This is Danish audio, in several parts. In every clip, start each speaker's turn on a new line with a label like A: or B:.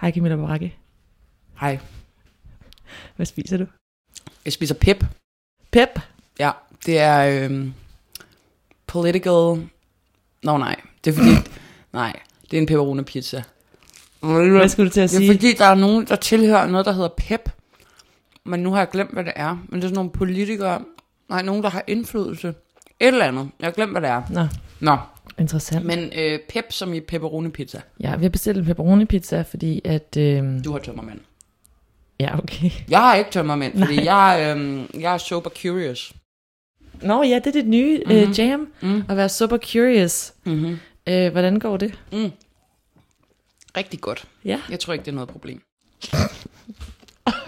A: Hej Camilla Boracchi.
B: Hej.
A: Hvad spiser du?
B: Jeg spiser pep.
A: Pep.
B: Ja, det er øhm, political... Nå nej, det er fordi... nej, det er en pepperoni pizza.
A: Hvad skulle du til at
B: Det
A: sige?
B: er fordi, der er nogen, der tilhører noget, der hedder PEP. Men nu har jeg glemt, hvad det er. Men det er sådan nogle politikere. Nej, nogen, der har indflydelse. Et eller andet. Jeg har glemt, hvad det er.
A: Nå,
B: Nå,
A: interessant. Men...
B: men øh, PEP som i pepperoni pizza.
A: Ja, vi har bestilt en pepperoni pizza, fordi at... Øhm...
B: Du har tømmermænd.
A: Ja, okay.
B: Jeg har ikke tømmermænd, fordi jeg, øh, jeg er sober curious.
A: Nå ja, det er dit nye mm-hmm. øh, jam, mm. at være super curious.
B: Mm-hmm.
A: Øh, hvordan går det?
B: Mm. Rigtig godt.
A: Ja.
B: Jeg tror ikke, det er noget problem.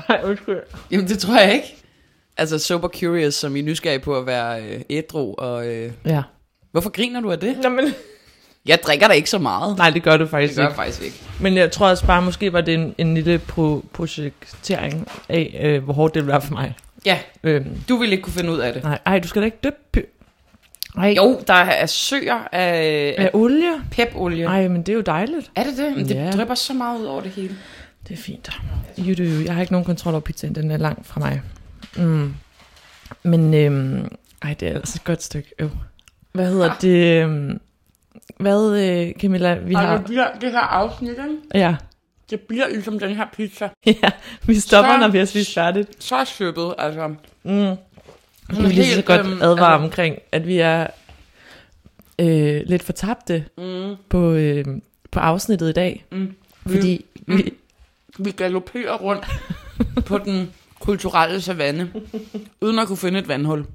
A: Ej, undskyld.
B: Jamen, det tror jeg ikke. Altså, sober curious, som I er nysgerrige på at være øh, ædru. Og, øh,
A: Ja.
B: hvorfor griner du af det?
A: Nå, men...
B: Jeg drikker da ikke så meget.
A: Nej, det gør du faktisk
B: det gør jeg
A: ikke.
B: faktisk ikke.
A: Men jeg tror også bare, måske var det en, en lille pro- projektering af, øh, hvor hårdt det ville være for mig.
B: Ja,
A: Øhm,
B: du ville ikke kunne finde ud af det.
A: nej, ej, du skal da ikke døbe py. Ej,
B: Jo, der er søer af,
A: Med
B: af
A: olie?
B: pepolie.
A: Ej, men det er jo dejligt.
B: Er det det? Men det
A: Ja.
B: drypper så meget ud over det hele.
A: Det er fint. You do you. Jeg har ikke nogen kontrol over pizzaen, den er langt fra mig. Mm. Men, øhm, ej, det er altså et godt stykke. Øv. Hvad hedder ah. det? øhm, Hvad, øh, Camilla, vi har...
B: bliver det her afsnit,
A: Ja,
B: det bliver ligesom den her pizza.
A: ja vi stopper,
B: Så-
A: når vi har spist færdigt.
B: Så søbet, altså.
A: Mm. Jeg vil lige så
B: helt,
A: godt
B: øhm,
A: advare
B: altså-
A: omkring, at vi er øh, lidt fortabte
B: Mm,
A: på, øh, på afsnittet i dag.
B: Mm.
A: Fordi vi,
B: vi galopperer rundt på den kulturelle savanne, uden at kunne finde et vandhul.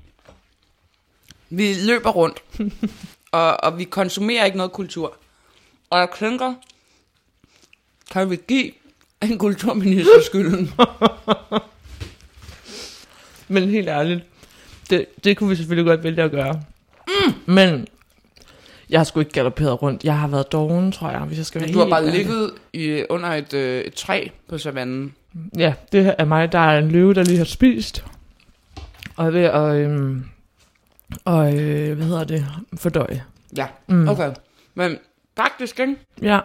B: Vi løber rundt, og, og vi konsumerer ikke noget kultur. Og jeg tænker, kan vi give en kulturminister skylden?
A: Men helt ærligt, det, det kunne vi selvfølgelig godt vælge at gøre. Mm. Men jeg har sgu ikke galopperet rundt. Jeg har været doven, tror jeg, hvis jeg skal være
B: Du har
A: helt
B: bare
A: ærlig.
B: ligget i, under et, øh, et træ på savannen.
A: Ja, det her er mig. Der er en løve, der lige har spist. Og er ved at... Øhm, og øh, hvad hedder det? Fordøje.
B: Ja,
A: Mm.
B: okay. Men faktisk, ikke?
A: Ja,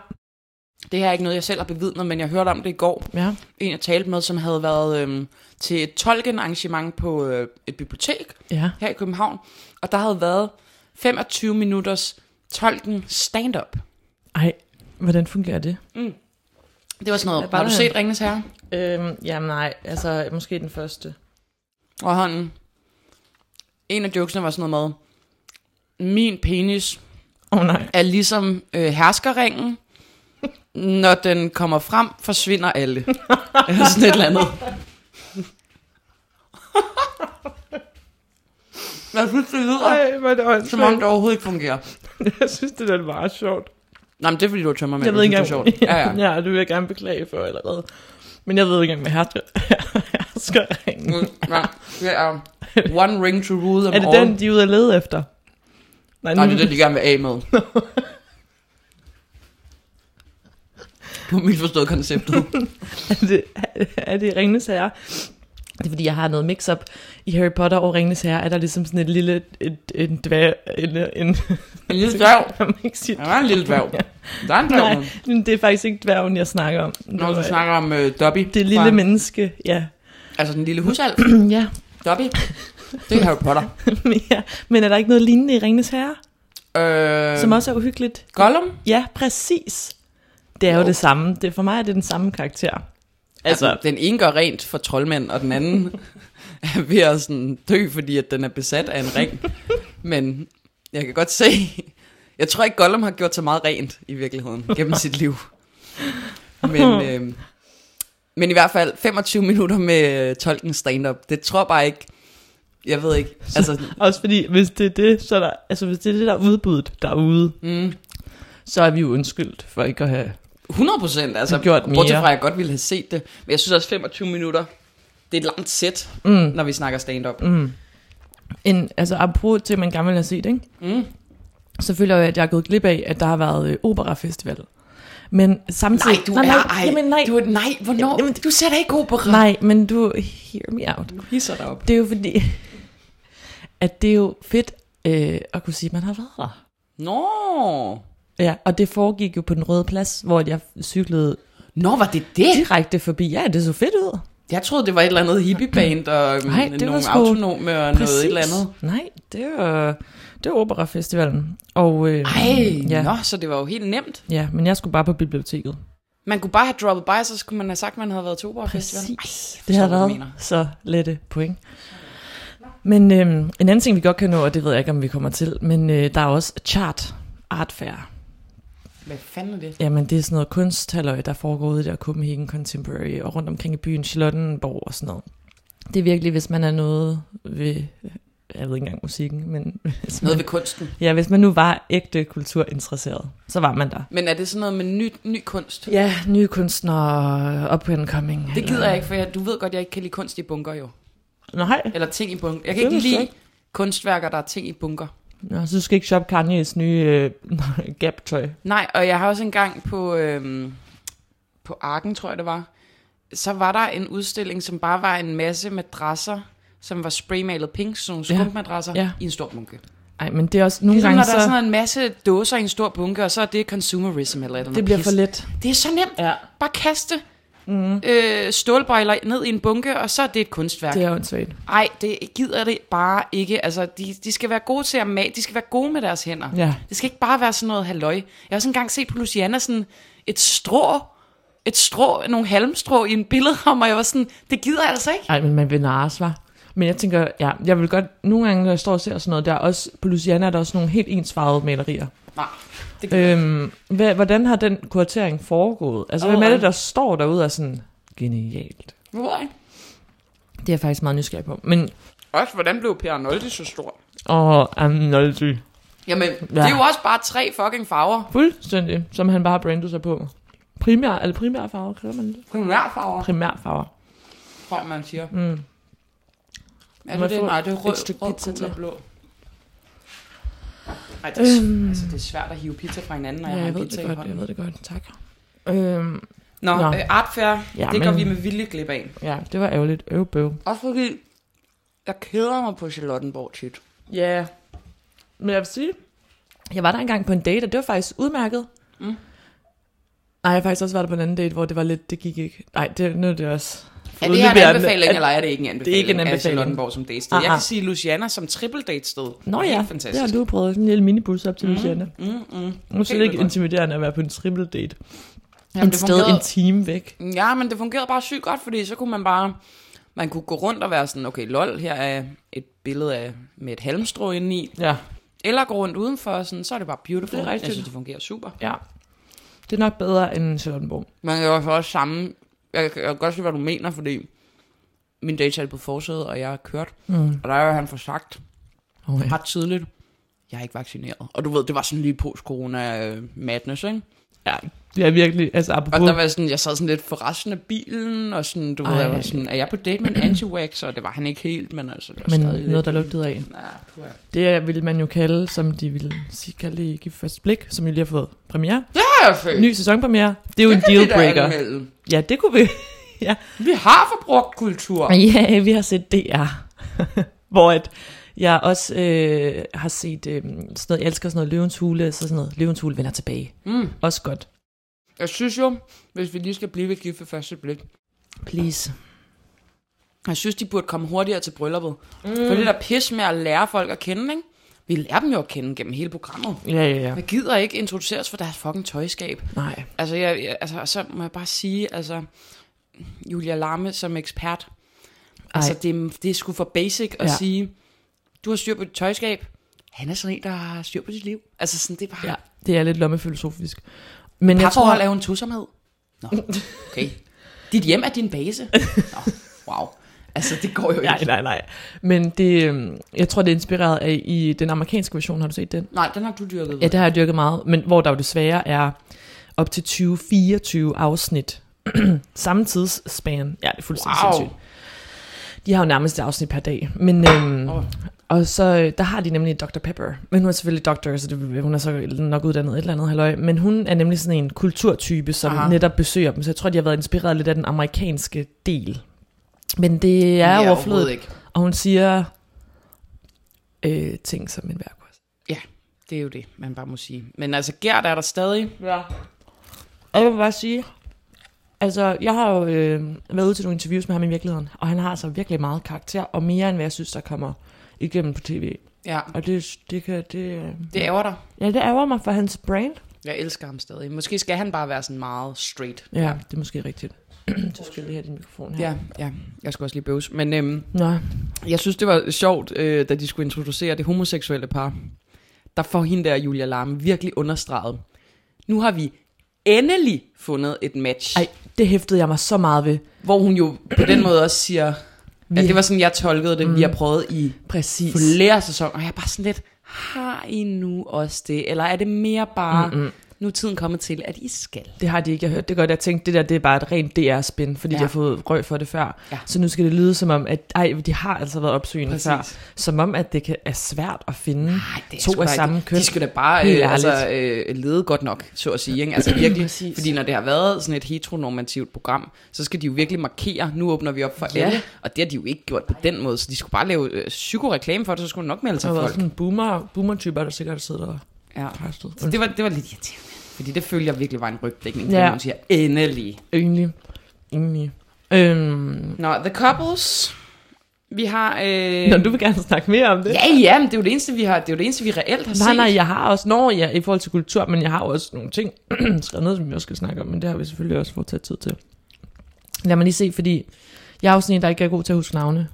B: det her er ikke noget, jeg selv har bevidnet, men jeg hørte om det i går.
A: ja.
B: En, jeg talte med, som havde været øhm, til et tolkenarrangement på øh, et bibliotek
A: Ja,
B: her i København. Og der havde været 25 minutters tolken stand-up.
A: ej, hvordan fungerer det?
B: Mm. Det var sådan
A: Ja,
B: noget,
A: bare
B: har du
A: det.
B: set Ringens Herre?
A: Øhm, jamen nej, altså måske den første.
B: Og han, en af jokesene var sådan noget med, min penis
A: Åh oh, nej.
B: er ligesom øh, herskerringen. Når den kommer frem, forsvinder alle. Eller sådan et eller andet. Jeg synes, det lyder,
A: Ej, hvor er det
B: som om
A: åndssvagt.
B: det overhovedet ikke fungerer.
A: Jeg synes, det er meget sjovt.
B: Nej, men det er fordi, du har tømmermænd.
A: Jeg ved ikke
B: Det er
A: engang,
B: sjovt. Ja, ja.
A: ja, det vil jeg gerne beklage for allerede. Men jeg ved ikke engang, hvad hersker, herskerringen.
B: Mm, ja. Det er one ring to rule them
A: Er det
B: all.
A: den, de er ude at lede efter? Nej,
B: Nej, det er det, de gerne vil af med. Du har misforstået konceptet.
A: er det, er det Ringnes Herre? Det er fordi, jeg har noget mix-up i Harry Potter og Ringnes Herre. Er der ligesom sådan et lille... Et, en dvær... En, en,
B: En lille dværg.
A: Jeg må ikke sige-
B: Der er en lille dværg. Der er en dværg.
A: Nej, men det er faktisk ikke dværgen, jeg snakker om.
B: Når du snakker om uh, Dobby.
A: Det
B: fra-
A: lille menneske, ja.
B: Altså den lille husalv.
A: ja.
B: Dobby. Det er Harry Potter.
A: Men ja. Men er der ikke noget lignende i Ringnes Herre,
B: Øh,
A: som også er uhyggeligt?
B: Gollum?
A: Ja, præcis. Det er jo,
B: Jo.
A: det samme. Det, for mig er det den samme karakter. Altså,
B: Den ene gør rent for troldmænd, og den anden er ved at sådan dø, fordi at den er besat af en ring. Men jeg kan godt se... Jeg tror ikke, Gollum har gjort så meget rent i virkeligheden gennem sit liv. Men, øh, men i hvert fald 25 minutter med øh, tolken stand-up. Det tror jeg bare ikke... Jeg ved ikke. Altså,
A: også fordi, hvis det er det, så er der, altså, hvis det er det, der er udbuddet derude,
B: mm,
A: så er vi jo undskyldt for ikke at have...
B: 100 procent. Altså,
A: Gjort mere.
B: Bortset fra, at jeg godt ville have set det. Men jeg synes også, 25 minutter, det er et langt sæt,
A: Mm,
B: når vi snakker stand-up.
A: mm. En, altså, apropos til, at man gerne vil have set, ikke?
B: Mm.
A: så føler jeg, at jeg er gået glip af, at der har været øh, operafestival. Men samtidig...
B: Nej, du nej, er
A: nej,
B: ej.
A: Jamen, nej,
B: Du er, nej, hvornår?
A: Jamen,
B: Jamen, du ser da ikke opera.
A: nej, men du... Hear me out.
B: Du hisser dig op.
A: Det er jo fordi, at det er jo fedt øh, at kunne sige, at man har været der.
B: Nå.
A: Ja, og det foregik jo på den røde plads, hvor jeg cyklede
B: Nå, var det det?
A: direkte forbi. Ja, det så fedt ud.
B: Jeg troede, det var et eller andet hippieband og øhm,
A: Nej, det var
B: nogle
A: sgu-
B: autonome og noget et eller andet.
A: Nej, det var, det var Operafestivalen. Og, øh,
B: Ej, ja.
A: ja,
B: nå, så det var jo helt nemt.
A: ja, men jeg skulle bare på biblioteket.
B: Man kunne bare have droppet by, så skulle man have sagt, at man havde været til operafestivalen.
A: Præcis.
B: forstår,
A: det har
B: hvad du
A: været
B: mener.
A: så lette point. Men øhm, en anden ting, vi godt kan nå, og det ved jeg ikke, om vi kommer til, men øh, der er også chart art fair.
B: Hvad fanden er det?
A: Jamen, det er sådan noget kunsthalløj, der foregår ude i der Copenhagen Contemporary og rundt omkring i byen Charlottenborg og sådan noget. Det er virkelig, hvis man er noget ved, øh, jeg ved ikke engang musikken, men hvis
B: Noget
A: man,
B: ved kunsten.
A: ja, hvis man nu var ægte kulturinteresseret, så var man der.
B: Men er det sådan noget med ny, ny kunst?
A: Ja, nye kunstnere, up and coming.
B: Det gider jeg ikke, for jeg, du ved godt, jeg ikke kan lide kunst i bunker jo.
A: Nej,
B: Eller ting i bunker. Jeg
A: Det
B: kan ikke
A: vidste jeg
B: lide kunstværker, der er ting i bunker.
A: Nå, så du skal ikke shoppe Kanye's nye øh, gap-tøj.
B: Nej, og jeg har også engang på, øhm, på Arken, tror jeg det var, så var der en udstilling, som bare var en masse madrasser, som var spraymalet pink, sådan nogle
A: Ja.
B: skumpmadrasser, ja.
A: Ja.
B: i en stor bunke.
A: Nej, men det er også nogle
B: Ligesom når
A: gange,
B: der er
A: så,
B: sådan en masse dåser i en stor bunke, og så er det consumerism eller et eller andet.
A: det bliver
B: pis.
A: for let. Mhm.
B: Det er så nemt.
A: Ja.
B: Bare kaste mm. øh, stålbøjler ned i en bunke, og så er det et kunstværk.
A: Det er jo en svagt.
B: Nej, det gider det bare ikke. Altså, de, de skal være gode til at male. De skal være gode med deres hænder.
A: Ja.
B: Det skal ikke bare være sådan noget halløj. Jeg har også engang set på Luciana sådan et strå, et strå, nogle halmstrå i en billedram, og jeg var sådan, det gider jeg altså ikke.
A: Nej, men man vil narres, var. Men jeg tænker, ja, jeg vil godt, nogle gange, når jeg står og ser sådan noget, der er også, på Luciana er der også nogle helt ensfarvede malerier.
B: Nej, det gider øh.
A: Øhm, hvad, hvordan har den kuratering foregået? Altså, hvem er det, der står derude og er sådan, genialt?
B: jeg
A: Det er jeg faktisk meget nysgerrig på. Men,
B: Også, hvordan blev Per Arnoldi så stor?
A: og um, Arnoldi,
B: Jamen, ja. det er jo også bare tre fucking farver.
A: fuldstændig, som han bare har brandet sig på. Primær, eller primærfarver, kalder man det?
B: Primærfarver,
A: Primærfarver.
B: tror jeg, man siger. Mm. Er
A: Må
B: det
A: jeg
B: det?
A: få
B: Nej, det er
A: et
B: rød,
A: stykke
B: rød,
A: pizza
B: gul og
A: til?
B: blå. Ej, det er, øhm. altså, det er svært at hive pizza fra hinanden, når
A: Ja,
B: jeg,
A: jeg,
B: har en
A: ved
B: pizza
A: det
B: i
A: godt,
B: hånden.
A: jeg ved det godt, tak. Øhm,
B: Nå,
A: Nå.
B: Øh, artfærd, ja,
A: Ja,
B: det går
A: men-
B: vi med vilje glip af.
A: ja, det var ærgerligt. Øvbøv.
B: Også fordi, jeg keder mig på Charlottenborg tit.
A: Ja, yeah. men jeg vil sige, jeg var der engang på en date, og det var faktisk udmærket. Mm. Nej, jeg har faktisk også været der på en anden date, hvor det var lidt, det gik ikke. Nej, det, nu er det også...
B: Er det her en anbefaling, eller er det ikke en anbefaling?
A: ikke en
B: af
A: anbefaling.
B: Charlottenborg som datested. Jeg
A: Ah,
B: kan
A: ah.
B: sige Luciana som triple datested.
A: Nå ja,
B: Helt
A: det
B: fantastisk.
A: har du prøvet. Sådan en lille minibus op til mm. Luciana.
B: Mm, mm.
A: Nu er det
B: Helt
A: ikke
B: vildt.
A: intimiderende at være på en triple date.
B: Jamen,
A: en
B: det
A: sted
B: fungerede-
A: en time væk.
B: Ja, men det fungerede bare sygt godt, fordi så kunne man bare... Man kunne gå rundt og være sådan, okay, lol, her er et billede af, med et halmstrå indeni.
A: Ja,
B: Eller gå rundt udenfor, og sådan, så er det bare beautiful.
A: Det er rigtigt.
B: Jeg synes, det fungerer super.
A: ja. Det er nok bedre end Charlottenborg.
B: Man kan jo så også samme... Jeg kan, jeg kan godt se, hvad du mener, fordi min date satte på forsædet, og jeg er kørt. Mm. Og der er jo han for sagt
A: Oh, ja.
B: ret tidligt, jeg er ikke vaccineret. Og du ved, det var sådan lige post-corona-madness, ikke?
A: ja. Det er virkelig, altså
B: Og
A: apropos...
B: der var sådan, jeg sad sådan lidt for resten af bilen, og sådan, du ved,
A: Ej.
B: jeg var sådan, er jeg på date med en anti-vaxxer? Og det var han ikke helt, men altså, det var
A: men
B: stadig
A: noget, der
B: lidt.
A: lugtede af.
B: Ja, puha.
A: Det vil man jo kalde, som de vil sige, kalde det i Gift første blik, som jo lige har fået premiere.
B: Det har jeg fået.
A: Ny sæsonpremiere. Det er jo
B: Det
A: en
B: kan vi da
A: dealbreaker.
B: anmelde.
A: Ja, det kunne vi. ja.
B: Vi har forbrugt kultur.
A: ja, vi har set DR. Hvor at jeg også øh, har set øh, sådan noget, jeg elsker sådan noget løvens hule, så sådan noget løvens hule vender tilbage.
B: Mm.
A: Også godt.
B: Jeg synes jo, hvis vi lige skal blive ved gift ved første blik,
A: Please.
B: jeg synes, de burde komme hurtigere til brylluppet. Mm. For det der pis med at lære folk at kende, ikke? Vi lærer dem jo at kende gennem hele programmet.
A: Ja, ja, ja.
B: Jeg gider ikke introduceres for deres fucking tøjskab.
A: Nej.
B: Altså, jeg, jeg, altså, og så må jeg bare sige, altså, Julia Larme som ekspert, altså,
A: Ej.
B: det, er- det er sgu for basic at ja.
A: Ja.
B: sige, du har styr på dit tøjskab, han er sådan en, der har styr på sit liv. Altså, sådan, det er bare...
A: Ja,
B: Ja.
A: det er lidt lommefilosofisk. Men jeg tror,
B: Parforhold er jo en tosomhed. Nå, okay. Dit hjem er din base. Nå, wow. Altså, det går jo
A: Nej,
B: ikke.
A: nej, nej. Men det, øhm, jeg tror, det er inspireret af i den amerikanske version. Har du set den?
B: Nej, den har du dyrket.
A: Ja, det har jeg dyrket meget, men hvor der jo desværre er op til 20-24 afsnit samme tidsspan. Ja, det er fuldstændig wow.
B: Wow.
A: sindssygt. De har jo nærmest et afsnit per dag. Men, øhm,
B: Åh.
A: oh. Og så øh, der har de nemlig Dr. Pepper. Men hun er selvfølgelig doktor, så det, øh, hun er så nok uddannet et eller andet halløj. Men hun er nemlig sådan en kulturtype, som
B: Aha.
A: Aha. netop besøger dem. Så jeg tror, de har været inspireret lidt af den amerikanske del. Men det er ja, overflødigt.
B: ikke.
A: Og hun siger øh, ting som en værkost.
B: Ja, det er jo det, man bare må sige. Men altså, Gert er der stadig.
A: Ja. Og jeg vil bare sige, Altså, jeg har jo øh, været ude til nogle interviews med ham i virkeligheden, og han har altså virkelig meget karakter, og mere end hvad jeg synes, der kommer igennem på tv.
B: Ja,
A: Og det, det kan, det, øh,
B: det ærger dig.
A: ja, det ærger mig for hans brand.
B: Jeg elsker ham stadig. Måske skal han bare være sådan meget straight.
A: Ja, det er måske rigtigt. så skal jeg lige have din mikrofon her.
B: Ja, ja. Jeg skal også lige bøves. Men øhm,
A: Nå,
B: jeg synes, det var sjovt, øh, da de skulle introducere det homoseksuelle par. Der får hende der, Julia Larme, virkelig understreget. Nu har vi endelig fundet et match.
A: ej, det hæftede jeg mig så meget ved.
B: Hvor hun jo på den måde også siger,
A: Vi-
B: at det var sådan, jeg tolkede det, mm. vi har prøvet i
A: Præcis.
B: flere sæsoner. Og jeg er bare sådan lidt, har I nu også det? Eller er det mere bare, Mm-mm. nu er tiden kommet til, at I skal?
A: Mm. Det har de ikke, jeg hørte det godt. Jeg tænkte, det der det er bare et rent DR-spin, fordi
B: Ja.
A: ja. de har fået røg for det før.
B: Ja.
A: Så nu skal det lyde som om, at ej, de har altså været opsøgende
B: Præcis.
A: før. Som om, at det kan, er svært at finde
B: Ej, det er
A: to
B: sgu
A: af
B: da
A: samme
B: ikke.
A: køn.
B: De skulle da bare
A: Helt
B: øh, altså,
A: ærligt.
B: øh, lede godt nok, så at sige. Ikke? Altså virkelig,
A: Præcis.
B: fordi når det har været sådan et heteronormativt program, så skal de jo virkelig markere, nu åbner vi op for
A: Ja.
B: alle, og det har de jo ikke gjort på den måde, så de skulle bare lave øh, psykoreklame for det, så skulle de nok melde sig
A: Der var
B: folk.
A: sådan en boomer, boomer-typer, der sikkert sidder og
B: Ja.
A: kræftet.
B: Så det var, det var lidt irriterende, fordi det følger virkelig var en rygdækning,
A: Ja.
B: ja. hun siger, endelig.
A: Egentlig. Egentlig. Øhm,
B: Nå, The Couples, vi har... Øh,
A: Nå, du vil gerne snakke mere om det?
B: Ja, ja, men det er jo det eneste, vi har, det er jo det eneste, vi reelt har
A: Nej,
B: set.
A: nej, jeg har også, når jeg i forhold til kultur, men jeg har jo også nogle ting skrevet ned, som vi også skal snakke om, men det har vi selvfølgelig også fået taget tid til. Lad mig lige se, fordi jeg er jo sådan en, der ikke er god til at huske navne.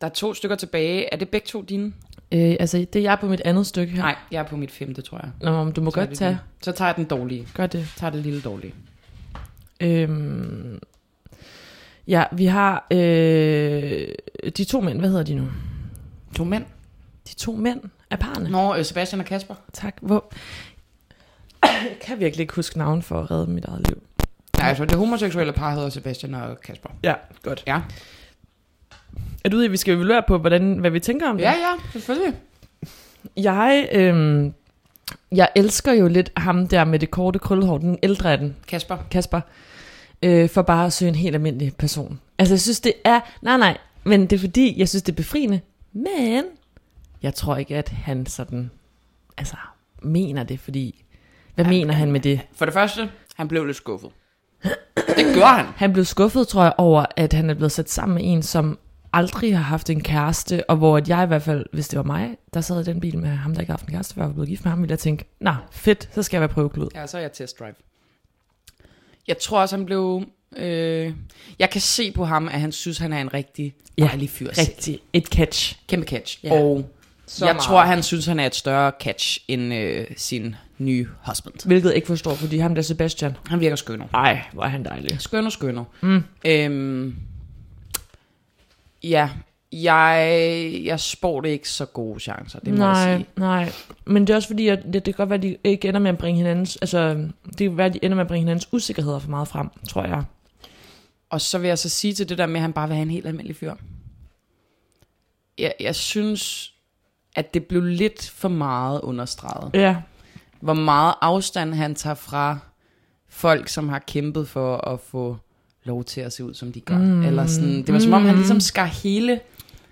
B: Der er to stykker tilbage. Er det begge to dine?
A: Øh, altså, det er jeg på mit andet stykke her.
B: Nej, jeg er på mit femte, tror jeg.
A: Nå, men du må
B: Så er
A: godt
B: det
A: tage.
B: din. Så tager jeg den dårlige.
A: Gør det.
B: tager det lille dårlige.
A: Øhm, ja, vi har øh, de to mænd. Hvad hedder de nu?
B: To mænd.
A: De to mænd af parerne.
B: Nå, øh, Sebastian og Kasper.
A: Tak. Hvor... Jeg kan virkelig ikke huske navn for at redde mit eget liv.
B: Nej, altså det homoseksuelle par hedder Sebastian og Kasper.
A: Ja, godt.
B: Ja.
A: Er du ude i, at vi skal evaluere på, hvordan, hvad vi tænker om det?
B: Ja, ja, selvfølgelig.
A: Jeg, øhm, jeg elsker jo lidt ham der med det korte krøllehår, den ældre af den,
B: Kasper.
A: Kasper, øh, for bare at søge en helt almindelig person. Altså, jeg synes, det er... Nej, nej, men det er fordi, jeg synes, det er befriende. Men jeg tror ikke, at han sådan... Altså, mener det, fordi... Hvad
B: Ja,
A: mener han med det?
B: For det første, han blev lidt skuffet. Det gør han.
A: Han blev skuffet, tror jeg, over, at han er blevet sat sammen med en, som aldrig har haft en kæreste, og hvor at jeg i hvert fald, hvis det var mig, der sad i den bil med ham, der ikke har haft en kæreste før, og var blevet gift med ham, ville jeg tænke, nå, fedt, så skal jeg være prøveklud.
B: Ja, så er jeg test drive. Jeg tror også, han blev... Øh, jeg kan se på ham, at han synes, han er en rigtig
A: Ja,
B: dejlig fyr. selv.
A: Rigtig, et catch.
B: Kæmpe catch.
A: Ja.
B: Og
A: Så
B: jeg
A: meget.
B: tror, han synes, han er et større catch end øh, sin nye husband.
A: Hvilket jeg ikke forstår, fordi ham der Sebastian,
B: Han virker skønner.
A: ej, hvor er han dejlig.
B: Skønner, skønner. Mm. Øhm, ja, jeg, jeg spår det ikke så gode chancer, det må Nej. jeg
A: nej,
B: sige.
A: nej. Men det er også fordi, at det, det kan godt være, at de ikke ender med at bringe hinandens, altså, det kan være, at de ender med at bringe hinandens usikkerheder for meget frem, tror jeg.
B: Og så vil jeg så sige til det der med, at han bare vil have en helt almindelig fyr. Jeg, jeg synes, at det blev lidt for meget understreget.
A: Ja,
B: Hvor meget afstand han tager fra folk, som har kæmpet for at få lov til at se ud, som de gør. Mm. Eller sådan, det var som om, han ligesom skar hele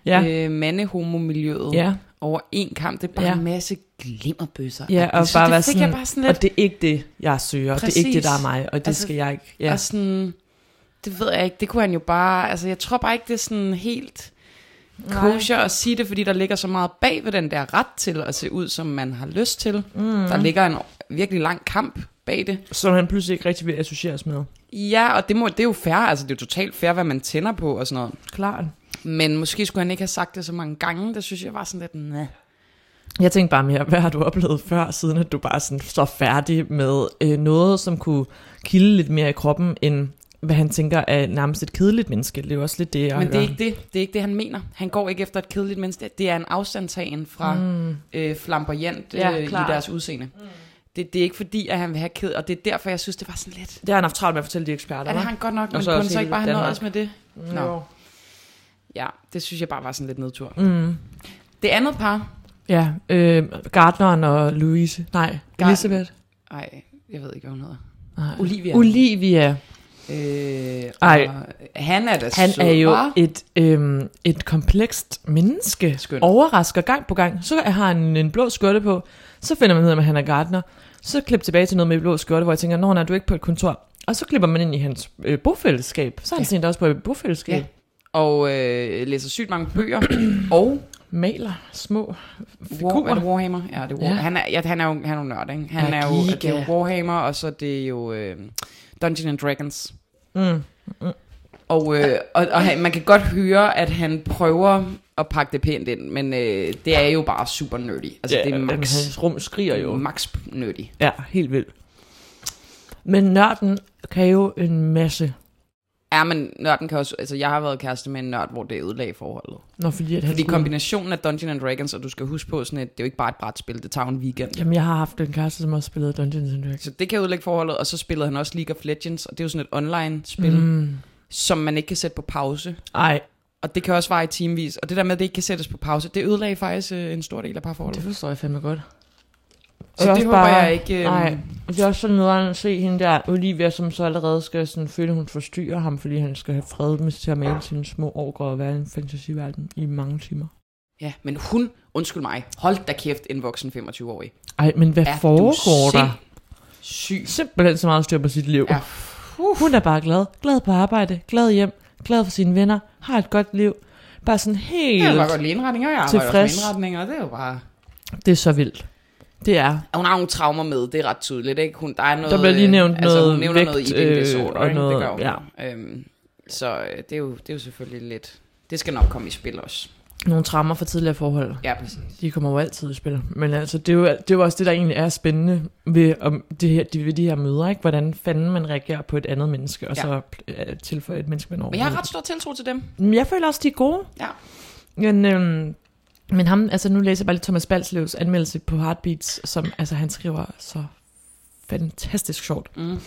A: ja, øh,
B: øh, mandehomomiljøet
A: ja.
B: over en kamp. Det er bare
A: Ja,
B: ja. en masse glimmerbøsser.
A: Ja,
B: Jeg
A: og
B: synes,
A: bare
B: det
A: være
B: fik
A: sådan-
B: jeg bare sådan lidt...
A: Og det er ikke det, jeg søger, Præcis. det er ikke det, der er mig, og det
B: Altså,
A: altså, skal jeg ikke.
B: Ja.
A: Ja.
B: Og sådan, det ved jeg ikke, det kunne han jo bare... Altså, jeg tror bare ikke, det er sådan helt kosher at sige det, fordi der ligger så meget bag ved den der ret til at se ud, som man har lyst til. Mm. Der ligger en virkelig lang kamp bag det.
A: som han pludselig ikke rigtig vil associeres med.
B: Ja, og det, må, det er jo fair, altså det er jo totalt fair, hvad man tænder på og sådan noget.
A: Klart.
B: Men måske skulle han ikke have sagt det så mange gange, det synes jeg var sådan lidt, næh.
A: Jeg tænkte bare mere, hvad har du oplevet før, siden at du bare sådan står færdig med øh, noget, som kunne kilde lidt mere i kroppen, end hvad han tænker er nærmest et kedeligt menneske. Det er jo også lidt det, jeg
B: Men det er
A: hører.
B: ikke det. Det er ikke det, han mener. Han går ikke efter et kedeligt menneske. Det er en afstandtagen fra mm. øh, flamboyant øh,
A: Ja,
B: ja, i
A: klart.
B: deres udseende. Mm. Det, det er ikke fordi, at han vil have ked, og det er derfor, jeg synes, det var sådan lidt...
A: Det har han haft travlt med at fortælle de eksperter,
B: Ja, det har
A: hva'? Mm.
B: han godt nok, men
A: så
B: kunne han
A: også
B: så
A: hele
B: ikke bare have
A: Danmark.
B: nøjes med det? Nå.
A: Jo.
B: Ja, det synes jeg bare var sådan lidt nedtur. Mm. Det andet par...
A: Ja, øh, Gardneren og Louise. Nej,
B: Gar-
A: Elisabeth.
B: Ej, jeg ved ikke, hvad hun hedder.
A: Nej.
B: Olivia.
A: Olivia.
B: Øh,
A: Ej.
B: og Han er da
A: Han
B: sød,
A: er jo
B: hva'?
A: et, øhm, et komplekst menneske.
B: Skøn.
A: Overrasker gang på gang. Så har han en blå skjorte på. Så finder man ud af, at han er gartner. Så klip tilbage til noget med blå skjorte, hvor jeg tænker, Nå, nej, du er ikke på et kontor. Og så klipper man ind i hans øh, bofællesskab. Så er han
B: Ja.
A: sent også på et bofællesskab.
B: Ja. Og øh, læser sygt mange bøger. og
A: Maler små
B: War, er det
A: figurer.
B: Warhammer? Ja, det er War,
A: Ja.
B: ja. Han, er, ja, han er jo han er jo nørd, ikke? Han
A: Ja,
B: er jo, det
A: giga.
B: er jo Warhammer, og så det er jo øh, Dungeons and Dragons.
A: Mm.
B: Og, øh, og, og han, man kan godt høre, at han prøver at pakke det pænt ind, men øh, det er jo bare super nerdy. Altså, ja, det er
A: men
B: max,
A: Hans rum skriger jo.
B: max nerdy.
A: Ja, helt vildt. Men nørden kan jo en masse,
B: Ja, men nørden kan også... Altså, jeg har været kæreste med en nørd, hvor det ødelagde forholdet.
A: når fordi at han
B: Fordi
A: skulle-
B: kombinationen af Dungeons and Dragons, og du skal huske på sådan et... Det er jo ikke bare et brætspil, det tager jo en weekend.
A: Jamen, jeg har haft en kæreste, som også spillede Dungeons and Dragons.
B: Så det kan ødelægge forholdet, og så spillede han også League of Legends, og det er jo sådan et online-spil, mm. som man ikke kan sætte på pause.
A: Ej,
B: Og det kan også vare i timevis. Og det der med, at det ikke kan sættes på pause, det ødelagde faktisk øh, en stor del af
A: det
B: parforholdet.
A: forstår jeg fandme godt.
B: Så det, det håber jeg ikke... Øh,
A: Nej, det er også sådan noget, at se hende der, Olivia, som så allerede skal sådan føle, at hun forstyrrer ham, fordi han skal have fred med til at male sine små orker og være i en fantasiverden i mange timer.
B: Ja, men hun, undskyld mig, hold da kæft, en voksen 25-årig.
A: Ej, men hvad
B: Er
A: ja,
B: du
A: foregår der?
B: Syg.
A: Simpelthen så meget styr på sit liv.
B: Ja,
A: Uh, hun er bare glad. Glad på arbejde, glad hjem, glad for sine venner, har et godt liv. Bare sådan helt...
B: jeg kan bare godt lide indretninger, jeg arbejder
A: Tilfreds.
B: også med indretninger, og det er jo bare...
A: det er så vildt. Det er.
B: Og hun har nogle traumer med, det er ret tydeligt, ikke? Hun, der er noget...
A: Der bliver lige nævnt
B: øh, altså, hun
A: noget
B: nævner noget
A: vægt,
B: eating
A: øh,
B: disorder,
A: og
B: ikke?
A: noget-
B: det gør hun. Ja. Øhm, så øh, det er, jo, det er jo selvfølgelig lidt... Det skal nok komme i spil også.
A: Nogle trammer fra tidligere forhold.
B: Ja, præcis.
A: De kommer jo altid i spil. Men altså, det er, jo, det er jo også det, der egentlig er spændende ved, om det her, de, ved de her møder. Ikke? Hvordan fanden man reagerer på et andet menneske, og
B: Ja.
A: ja. så øh, tilføje et menneske, man
B: Men jeg har
A: overhovedet.
B: ret stor tiltro til dem.
A: Men jeg føler også, de er gode.
B: Ja.
A: Men, øhm, men ham, altså nu læser jeg bare lidt Thomas Balslevs anmeldelse på Heartbeats, som altså, han skriver så fantastisk sjovt.
B: Mm.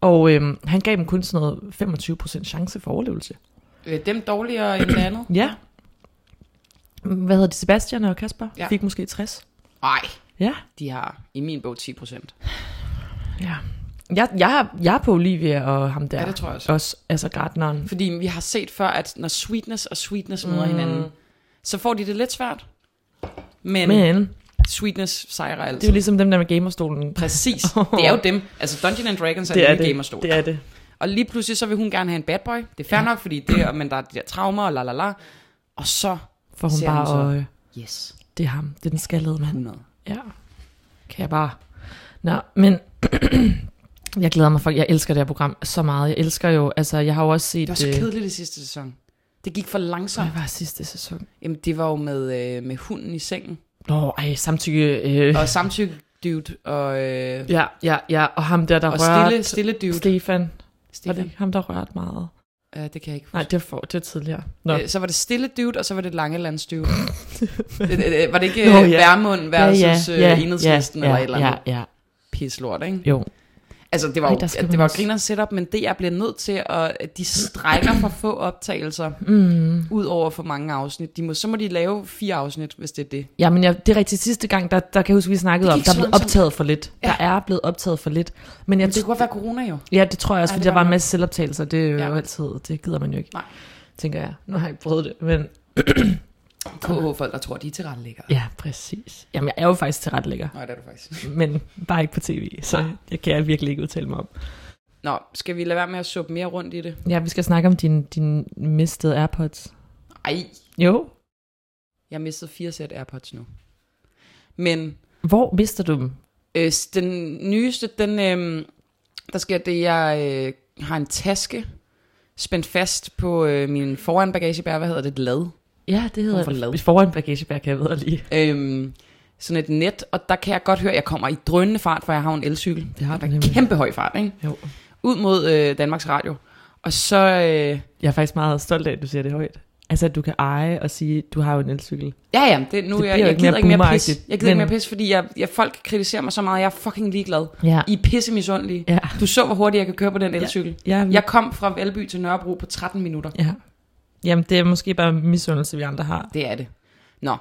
A: Og øhm, han gav dem kun sådan noget 25% chance for overlevelse.
B: Øh, dem dårligere end det andet?
A: Ja. Hvad hedder de? Sebastian og Kasper?
B: Ja.
A: Fik måske 60.
B: Nej,
A: Ja.
B: de har i min bog 10 procent.
A: Ja. Jeg, jeg, er- jeg er på Olivia og ham der.
B: Ja, det tror jeg også.
A: Også, altså gardneren.
B: Fordi vi har set før, at når sweetness og sweetness møder mm. hinanden, så får de det lidt svært. Men, Men.
A: Men
B: sweetness sejrer
A: det er
B: altid.
A: jo ligesom dem der med gamerstolen.
B: Præcis. Det er jo dem. Altså Dungeon and Dragons er
A: Det er
B: en
A: det.
B: gamerstol.
A: Det er det.
B: Og lige pludselig så vil hun gerne have en bad boy. Det er fair nok, fordi det er, men der er de der traumer og la la la. Og så,
A: For hun
B: Ser
A: bare,
B: hun så. Mm.
A: og, øh,
B: yes,
A: det er ham. Det er den skaldede mand.
B: 100.
A: Ja. Kan jeg bare. Nå, men jeg glæder mig for, jeg elsker det her program så meget. Jeg elsker jo, altså jeg har jo også set...
B: Det var så
A: øh,
B: kedeligt i sidste sæson. Det gik for langsomt.
A: Hvad var sidste sæson?
B: Jamen, det var jo med, øh, med hunden i sengen.
A: Nå, ej, samtykke... Øh,
B: Og samtykke dude og, øh,
A: ja, ja, ja, og ham der, der
B: og
A: rørte...
B: stille, stille dude.
A: Stefan. Var det
B: Stefan.
A: ikke ham, der rørte meget?
B: Øh, det kan jeg ikke
A: Nej, det var, for, det var tidligere. Nå.
B: Øh, så var det stille dude, og så var det langelands dude. Øh, øh, var det ikke
A: Nå,
B: Nå,
A: ja.
B: ja. Værmund versus ja, ja, ja, enhedslisten ja, eller et eller andet ja.
A: Ja, ja,
B: pislort, ikke?
A: jo.
B: Altså, det var
A: Ej,
B: jo
A: der skal
B: det
A: man
B: var
A: også-
B: griner setup, men det, jeg bliver nødt til, at at de strækker for få optagelser,
A: Mm.
B: ud over for mange afsnit. De må, så må de lave fire afsnit, hvis det er det.
A: Ja, men jeg, det er rigtigt. Sidste gang, der, der kan jeg huske, vi snakkede
B: Det
A: om,
B: gik
A: der
B: så
A: blev
B: langsomt.
A: optaget for lidt.
B: Ja.
A: Ja. Der er blevet optaget for lidt. Men jeg,
B: Men det kunne godt være corona jo.
A: Ja, det tror jeg også,
B: Ej,
A: fordi
B: det
A: der
B: var
A: var en
B: nok.
A: masse selvoptagelser. Det er jo
B: Ja.
A: ja. altid, det gider man jo ikke.
B: Nej.
A: Tænker jeg. Nu har jeg ikke prøvet det, men...
B: KH-folk, der tror, de er tilrettelæggere.
A: Ja, præcis. Jamen, jeg er jo faktisk tilrettelægger,
B: Nej, det er du faktisk.
A: men bare ikke på tv, så
B: Nej.
A: det kan jeg virkelig ikke udtale mig om.
B: Nå, skal vi lade være med at suppe mere rundt i det?
A: Ja, vi skal snakke om din, din mistede AirPods.
B: Ej,
A: Jo.
B: jeg mistede fire sæt AirPods nu. Men
A: Hvor mister du dem?
B: Øh, s- den nyeste, den, øh, der sker det, jeg øh, har en taske spændt fast på øh, min foran bagagebær, hvad hedder det, et lad.
A: Ja, det hedder
B: Hvorfor lad?
A: Hvis foran bagagebær, kan jeg ved lige.
B: Øh, sådan et net, og der kan jeg godt høre, at jeg kommer i drønende fart, for jeg har jo en elcykel.
A: Det har
B: Der
A: du
B: er
A: nemlig.
B: kæmpe høj fart, ikke?
A: Jo.
B: Ud mod øh, Danmarks Radio. Og så, øh,
A: Jeg er faktisk meget stolt af, at du siger det højt. Altså, at du kan eje og sige, at du har jo en elcykel.
B: ja ja, det, nu
A: Det
B: det jeg,
A: bliver
B: jeg
A: ikke
B: gider
A: mere
B: ikke mere pis. Jeg
A: boomeragtigt,
B: gider ikke
A: men-
B: mere pis, fordi jeg, jeg, folk kritiserer mig så meget, jeg er fucking ligeglad.
A: Ja.
B: I er pisse misundelige.
A: Ja.
B: Du så, hvor hurtigt jeg kan køre på den elcykel.
A: ja
B: Jeg kom fra Valby til Nørrebro på 13 minutter.
A: ja. Jamen, det er måske bare misundelse, vi andre har.
B: Det er det. Nå.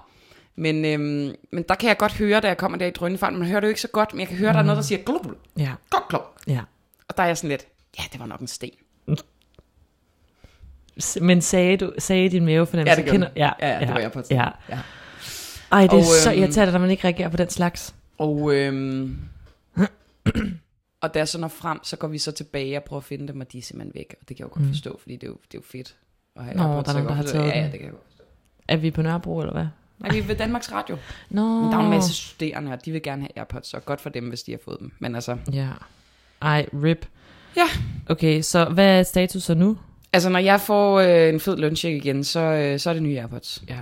B: Men, øhm, men der kan jeg godt høre, da jeg kommer der i drønnefart, man hører det jo ikke så godt, men jeg kan høre, der er noget, der siger glub, glub,
A: Ja.
B: glub, glub.
A: Mm. ja.
B: Og der er jeg sådan lidt, ja, det var nok en sten.
A: S- Men sagde, du, sagde din mavefornemmelse?
B: Ja, det gjorde den.
A: Ja,
B: Ja, ja, det var jeg på.
A: Ja.
B: Ja.
A: Ej, det er
B: Og,
A: og, så
B: øhm,
A: irriterende, når man ikke reagerer på den slags.
B: Og, øhm, og øhm, Og da jeg så når frem, så går vi så tilbage og prøver at finde dem, og de er simpelthen væk. Og det kan jeg jo godt
A: Mm.
B: mm. forstå, fordi det er jo, det er jo fedt. Og
A: Nå, der er nogen, der har taget
B: Ja, ja,
A: den.
B: det kan jeg godt forstå.
A: Er vi på Nørrebro, eller hvad?
B: Nej, vi er ved Danmarks Radio.
A: Nå.
B: Men der er jo en masse studerende, og de vil gerne have Airpods, og godt for dem, hvis de har fået dem. Men altså,
A: Ja. Ej, rip.
B: Ja.
A: Okay, så hvad er status så nu?
B: altså når jeg får øh, en fed løncheck igen, så, øh, så er det nye Airpods.
A: Ja.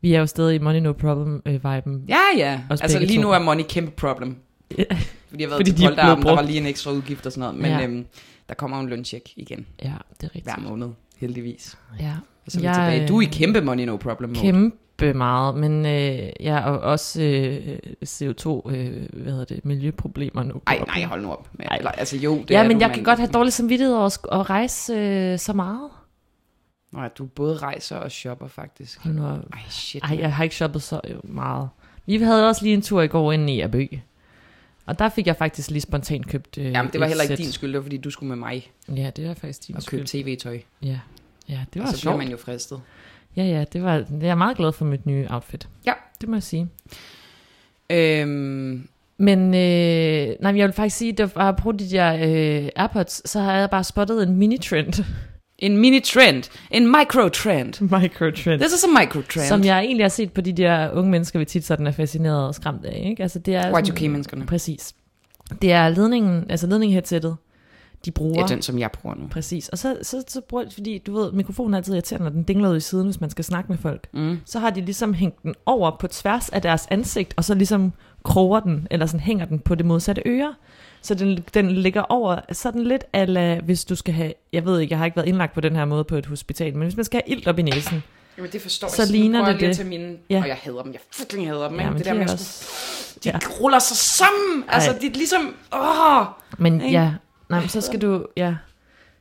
A: Vi er jo stadig i Money No øh, Problem-viben.
B: Ja, ja.
A: Også
B: altså
A: begge
B: lige
A: to.
B: nu er money kæmpe problem.
A: Ja.
B: Fordi jeg ved,
A: Fordi
B: Fordi
A: de
B: til
A: er
B: Polterabend,
A: blevet
B: der var
A: brugt.
B: lige en ekstra udgift og sådan noget. Men
A: Ja.
B: øhm, der kommer jo en løncheck igen
A: ja, det er rigtigt.
B: hver måned, heldigvis.
A: Ja.
B: Og så er vi
A: Jeg,
B: tilbage. Du er i
A: øh,
B: kæmpe money no problem mode.
A: Kæmpe meget, men øh, ja, og også øh, CO2, øh, hvad hedder det, miljøproblemer nu.
B: Ej, nej, hold nu op. Med,
A: Ej.
B: eller, altså jo, det
A: Det ja,
B: er
A: men
B: du,
A: jeg kan godt have dårlig samvittighed over at sk- at rejse øh, så meget.
B: Nå, ja, du både rejser og shopper faktisk.
A: Hold nu op.
B: Ej, shit.
A: Ej, jeg har ikke shoppet så øh, meget. Vi havde også lige en tur i går ind i Abø. Og der fik jeg faktisk lige spontant købt øh,
B: Jamen, det var
A: et
B: heller ikke
A: sæt.
B: din skyld, det var fordi du skulle med mig
A: Ja, det var faktisk din
B: og købe
A: skyld.
B: tv-tøj.
A: Ja. ja, det var
B: og så
A: sjovt.
B: bliver man jo fristet.
A: Ja, ja, det var, jeg er meget glad for mit nye outfit.
B: Ja.
A: Det må jeg sige.
B: Øhm,
A: Men øh, nej, men jeg vil faktisk sige, at jeg har brugt de der øh, Airpods, så har jeg bare spottet en mini-trend.
B: en mini-trend. En micro-trend.
A: Microtrend.
B: This is a micro-trend.
A: Som jeg egentlig har set på de der unge mennesker, vi tit sådan er fascineret og skræmt af. Ikke? Altså, det er sådan-
B: Y2K-menneskerne.
A: Præcis. Det er ledningen, altså ledningheadsættet, de bruger.
B: Det er den, som jeg bruger nu.
A: Præcis. Og så, så, så bruger de, fordi du ved, mikrofonen er altid irriterende, når den dingler ud i siden, hvis man skal snakke med folk.
B: Mm.
A: Så har de ligesom hængt den over på tværs af deres ansigt, og så ligesom kroger den, eller sådan hænger den på det modsatte øre. Så den, den ligger over sådan lidt, ala, hvis du skal have, jeg ved ikke, jeg har ikke været indlagt på den her måde på et hospital, men hvis man skal have ilt op i næsen,
B: Jamen, det forstår
A: Så
B: jeg.
A: ligner
B: nu prøver
A: det
B: jeg lige
A: det.
B: Til mine,
A: Ja.
B: ja. Og jeg hader dem. Jeg fucking hader dem.
A: Ja,
B: Ja,
A: men
B: det
A: de
B: der
A: er
B: med, at
A: også-
B: skulle, de
A: Ja.
B: ruller sig sammen. Altså,
A: Ej.
B: det er ligesom... Åh!
A: Men
B: Ikke?
A: ja, nej, men så skal du, ja,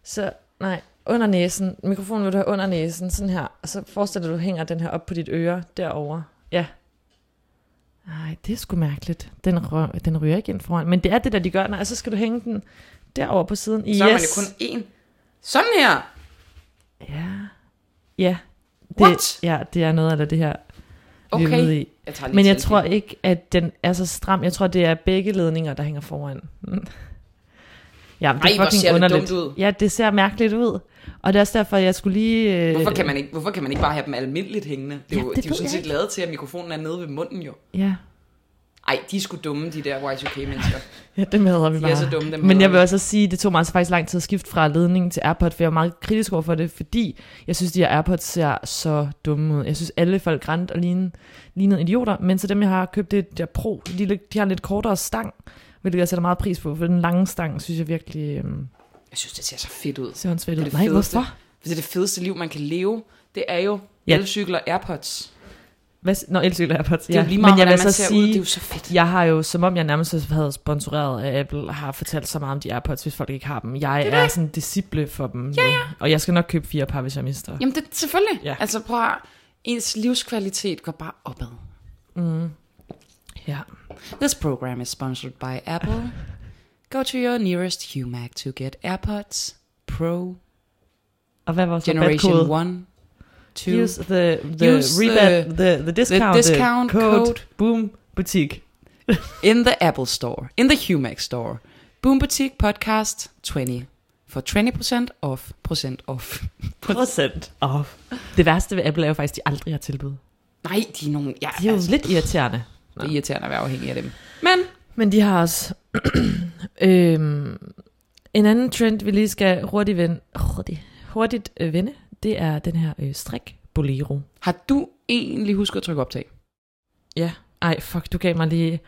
A: så, nej, under næsen, mikrofonen vil du have under næsen, sådan her, og så forestiller du, at du hænger den her op på dit øre, derovre, ja. Nej, det er sgu mærkeligt. Den, rø- den ryger ikke ind foran. Men det er det, der de gør. Nej, så skal du hænge den derover på siden. Yes.
B: Så er man jo kun én. Sådan her.
A: Ja. Ja. Det,
B: What?
A: Ja, det er noget af det her, vi er
B: Okay.
A: ude i.
B: Jeg tager lige
A: Men jeg
B: selfie.
A: tror ikke, at den er så stram. Jeg tror, det er begge ledninger, der hænger foran. ja, men det
B: Ej,
A: er
B: hvor
A: fucking
B: ser det
A: underligt.
B: dumt ud.
A: Ja, det ser mærkeligt ud. Og det er også derfor, jeg skulle lige... Øh,
B: Hvorfor kan, man ikke, hvorfor kan man ikke bare have dem almindeligt hængende? Det er
A: Ja,
B: jo,
A: det
B: det de
A: ved
B: er jo sådan
A: jeg
B: set
A: ikke.
B: lavet til, at mikrofonen er nede ved munden jo.
A: Ja,
B: Ej, de er sgu dumme, de der Y2K-mennesker.
A: ja det med vi
B: De
A: bare.
B: er så dumme, dem
A: Men
B: hader
A: jeg vil
B: vi.
A: også at sige, det tog mig altså faktisk lang tid at skifte fra ledningen til AirPod, for jeg var meget kritisk over for det, fordi jeg synes, de her AirPods ser så dumme ud. Jeg synes, alle folk rent og lignede, lignede idioter, men så dem, jeg har købt, det er der Pro. De, er lidt- de har en lidt kortere stang, hvilket jeg sætter meget pris på, for den lange stang, synes jeg virkelig øhm,
B: Jeg synes, det ser så fedt ud.
A: ser åndssvagt ud.
B: Det er det
A: Nej,
B: fedeste.
A: hvorfor?
B: Det er det fedeste liv, man kan leve. Det er jo
A: Ja.
B: elcykler og Airpods.
A: Hvad, s- nå, elcykel AirPods,
B: Det er
A: ja.
B: jo lige meget,
A: men jeg vil
B: hvordan man
A: så
B: ser
A: sige,
B: ud. Det er jo så fedt.
A: Jeg har jo, som om jeg nærmest havde sponsoreret af Apple, har fortalt så meget om de AirPods, hvis folk ikke har dem. Jeg det er, sådan en disciple for dem ja, ja. Og jeg skal nok købe fire par, hvis jeg mister.
B: Jamen, det, selvfølgelig.
A: Ja.
B: Ja. Altså, prøv at, høre. ens livskvalitet går bare opad.
A: Mm. Ja.
B: This program is sponsored by Apple. Go to your nearest HUMAC to get AirPods Pro
A: Og hvad var så
B: Generation
A: rabatkode?
B: 1, 2,
A: Use the, the,
B: Use
A: rebate, the, the, discount,
B: discount
A: code,
B: code.
A: Boom Butik.
B: in the Apple Store, in the HUMAC Store. Boom Boutique Podcast 20 for 20% off, procent off.
A: Procent off. Det værste ved Apple er jo faktisk, at de aldrig har tilbud.
B: Nej, de er nogle... Ja,
A: Det er jo
B: altså,
A: lidt irriterende.
B: det er irriterende at være afhængig af dem. Men
A: Men de har også... øhm, en anden trend, vi lige skal hurtigt vende, hurtigt, hurtigt øh, vende, det er den her øh, strik bolero.
B: har du egentlig husket at trykke optag?
A: Ja. Ej, fuck, du gav mig lige...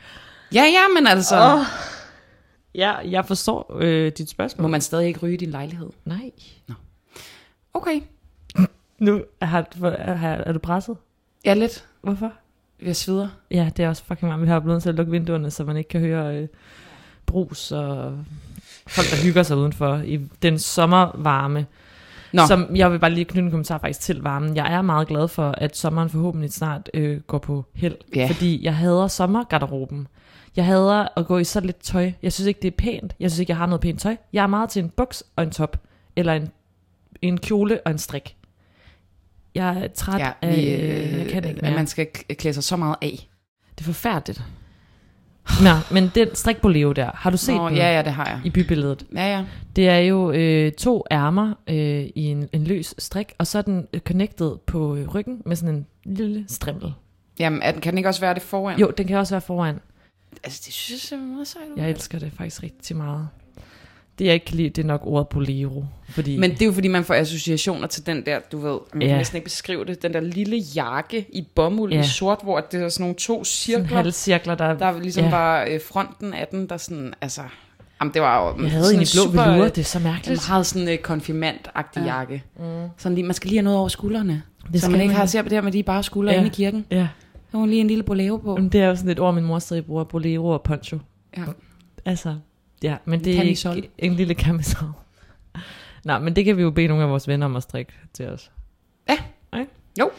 B: Ja, ja, men altså...
A: Åh. Ja, jeg forstår øh, dit spørgsmål.
B: Må man stadig ikke ryge i din lejlighed?
A: Nej.
B: Okay.
A: Nu har, for, har, er du presset?
B: Ja, lidt.
A: Hvorfor?
B: Jeg sveder.
A: Ja, det er også fucking meget. Vi har blevet nødt til at lukke vinduerne, så man ikke kan høre øh, brus og folk, der hygger sig udenfor i den sommervarme. Nå.
B: Nå.
A: Som, jeg vil bare lige knytte en kommentar faktisk til varmen. Jeg er meget glad for, at sommeren forhåbentlig snart øh, går på held.
B: Ja.
A: Fordi jeg hader sommergarderoben. Jeg hader at gå i så lidt tøj. Jeg synes ikke, det er pænt. Jeg synes ikke, jeg har noget pænt tøj. Jeg er meget til en buks og en top. Eller en, en kjole og en strik. Jeg er træt ja,
B: Ja,
A: af...
B: vi,
A: Øh, jeg kan ikke
B: at
A: mere.
B: man skal klæde sig så meget af.
A: Det er forfærdeligt. Nå, men den strikboleo der, har du set
B: Nå,
A: den
B: ja, ja, det har jeg.
A: i bybilledet?
B: Ja, ja.
A: Det er jo øh, to ærmer øh, i en, en løs strik, og så er den øh, connected på øh, ryggen med sådan en lille strimmel.
B: Jamen, er den- kan den ikke også være det foran?
A: Jo, den kan også være foran.
B: Altså, det synes jeg ser meget sejt ud.
A: Jeg elsker det faktisk rigtig meget. Det jeg ikke kan lide, det er nok ordet bolero. Fordi,
B: Men det er jo fordi, man får associationer til den der, du ved, man
A: Ja.
B: kan næsten ikke beskrive det, den der lille jakke i bomuld
A: Ja.
B: i sort, hvor det er sådan nogle to
A: sådan
B: cirkler,
A: halvcirkler, der,
B: der ligesom
A: Ja.
B: var øh, fronten af den, der sådan, altså, jamen det var jo
A: jeg havde
B: sådan
A: en i blå
B: super,
A: velour,
B: øh,
A: det er så
B: en
A: mærkeligt.
B: meget sådan øh, konfirmant-agtig
A: Ja.
B: jakke. Mm. Sådan lige, man skal lige have noget over skuldrene. Det så
A: skal
B: man ikke
A: man.
B: har ser på det her med de bare skuldre
A: Ja.
B: ja. inde i kirken.
A: Ja,
B: Der var lige en lille bolero på.
A: men det er jo sådan et ord, min mor stadig bruger, bolero og poncho.
B: Ja.
A: Altså, ja, men det er
B: Camisol.
A: ikke en lille camisol. Nej, men det kan vi jo bede nogle af vores venner om at strikke til os.
B: Ja.
A: Ikke?
B: Jo.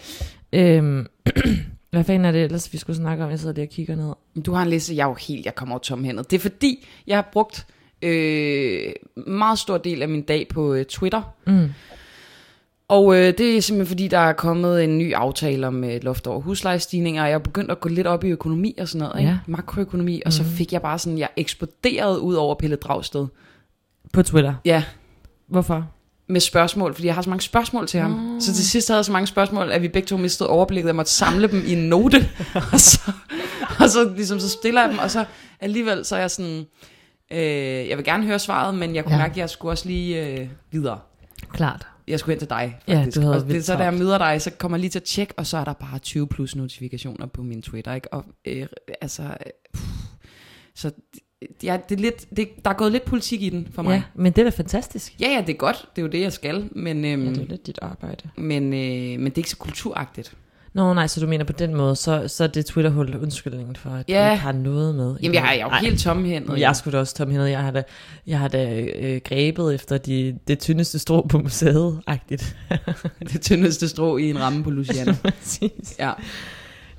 A: Øhm, hvad fanden er det ellers, vi skulle snakke om? Jeg sidder lige og kigger ned.
B: Du har en liste, jeg er jo helt, jeg kommer over tomhændet. Det er fordi, jeg har brugt øh, meget stor del af min dag på øh, Twitter.
A: Mm.
B: Og øh, det er simpelthen fordi, der er kommet en ny aftale om øh, et loft over huslejestigninger, og jeg er begyndt at gå lidt op i økonomi og sådan noget, ikke?
A: Ja.
B: makroøkonomi, og så fik jeg bare sådan, jeg eksploderede ud over Pelle Dragsted.
A: På Twitter.
B: Ja,
A: Hvorfor?
B: med spørgsmål, fordi jeg har så mange spørgsmål til ham.
A: Nå.
B: Så til sidst havde jeg så mange spørgsmål, at vi begge to mistede overblikket, og jeg måtte samle dem i en note, og så, og så, ligesom, så stiller jeg dem, og så alligevel så er jeg sådan, øh, jeg vil gerne høre svaret, men jeg kunne
A: Ja.
B: mærke, at jeg skulle også lige øh, videre.
A: Klart.
B: jeg skulle hen til dig,
A: Ja,
B: faktisk.
A: du havde
B: og det,
A: vildt
B: så da jeg
A: travlt.
B: møder dig, så kommer jeg lige til at tjekke, og så er der bare 20 plus notifikationer på min Twitter, ikke? Og øh, altså, øh, pff. så det- ja, det er lidt, det, der er gået lidt politik i den for mig.
A: Ja, men det er da fantastisk.
B: Ja, ja, det er godt, det er jo det, jeg skal, men, øhm,
A: Ja, det er lidt dit arbejde.
B: men, øh, men det er ikke så kulturagtigt.
A: Nå nej, så du mener på den måde, så, så er det Twitterhul undskyldningen for, at
B: Ja.
A: du ikke har noget med. i
B: Jamen, jeg,
A: det.
B: jeg er jo
A: Ej,
B: helt tomhændet.
A: Jeg skulle da også tom hende. Jeg har da, jeg har da øh, grebet efter de, det tyndeste strå på museet-agtigt.
B: Det tyndeste strå i en ramme på Luciana.
A: Præcis.
B: Ja.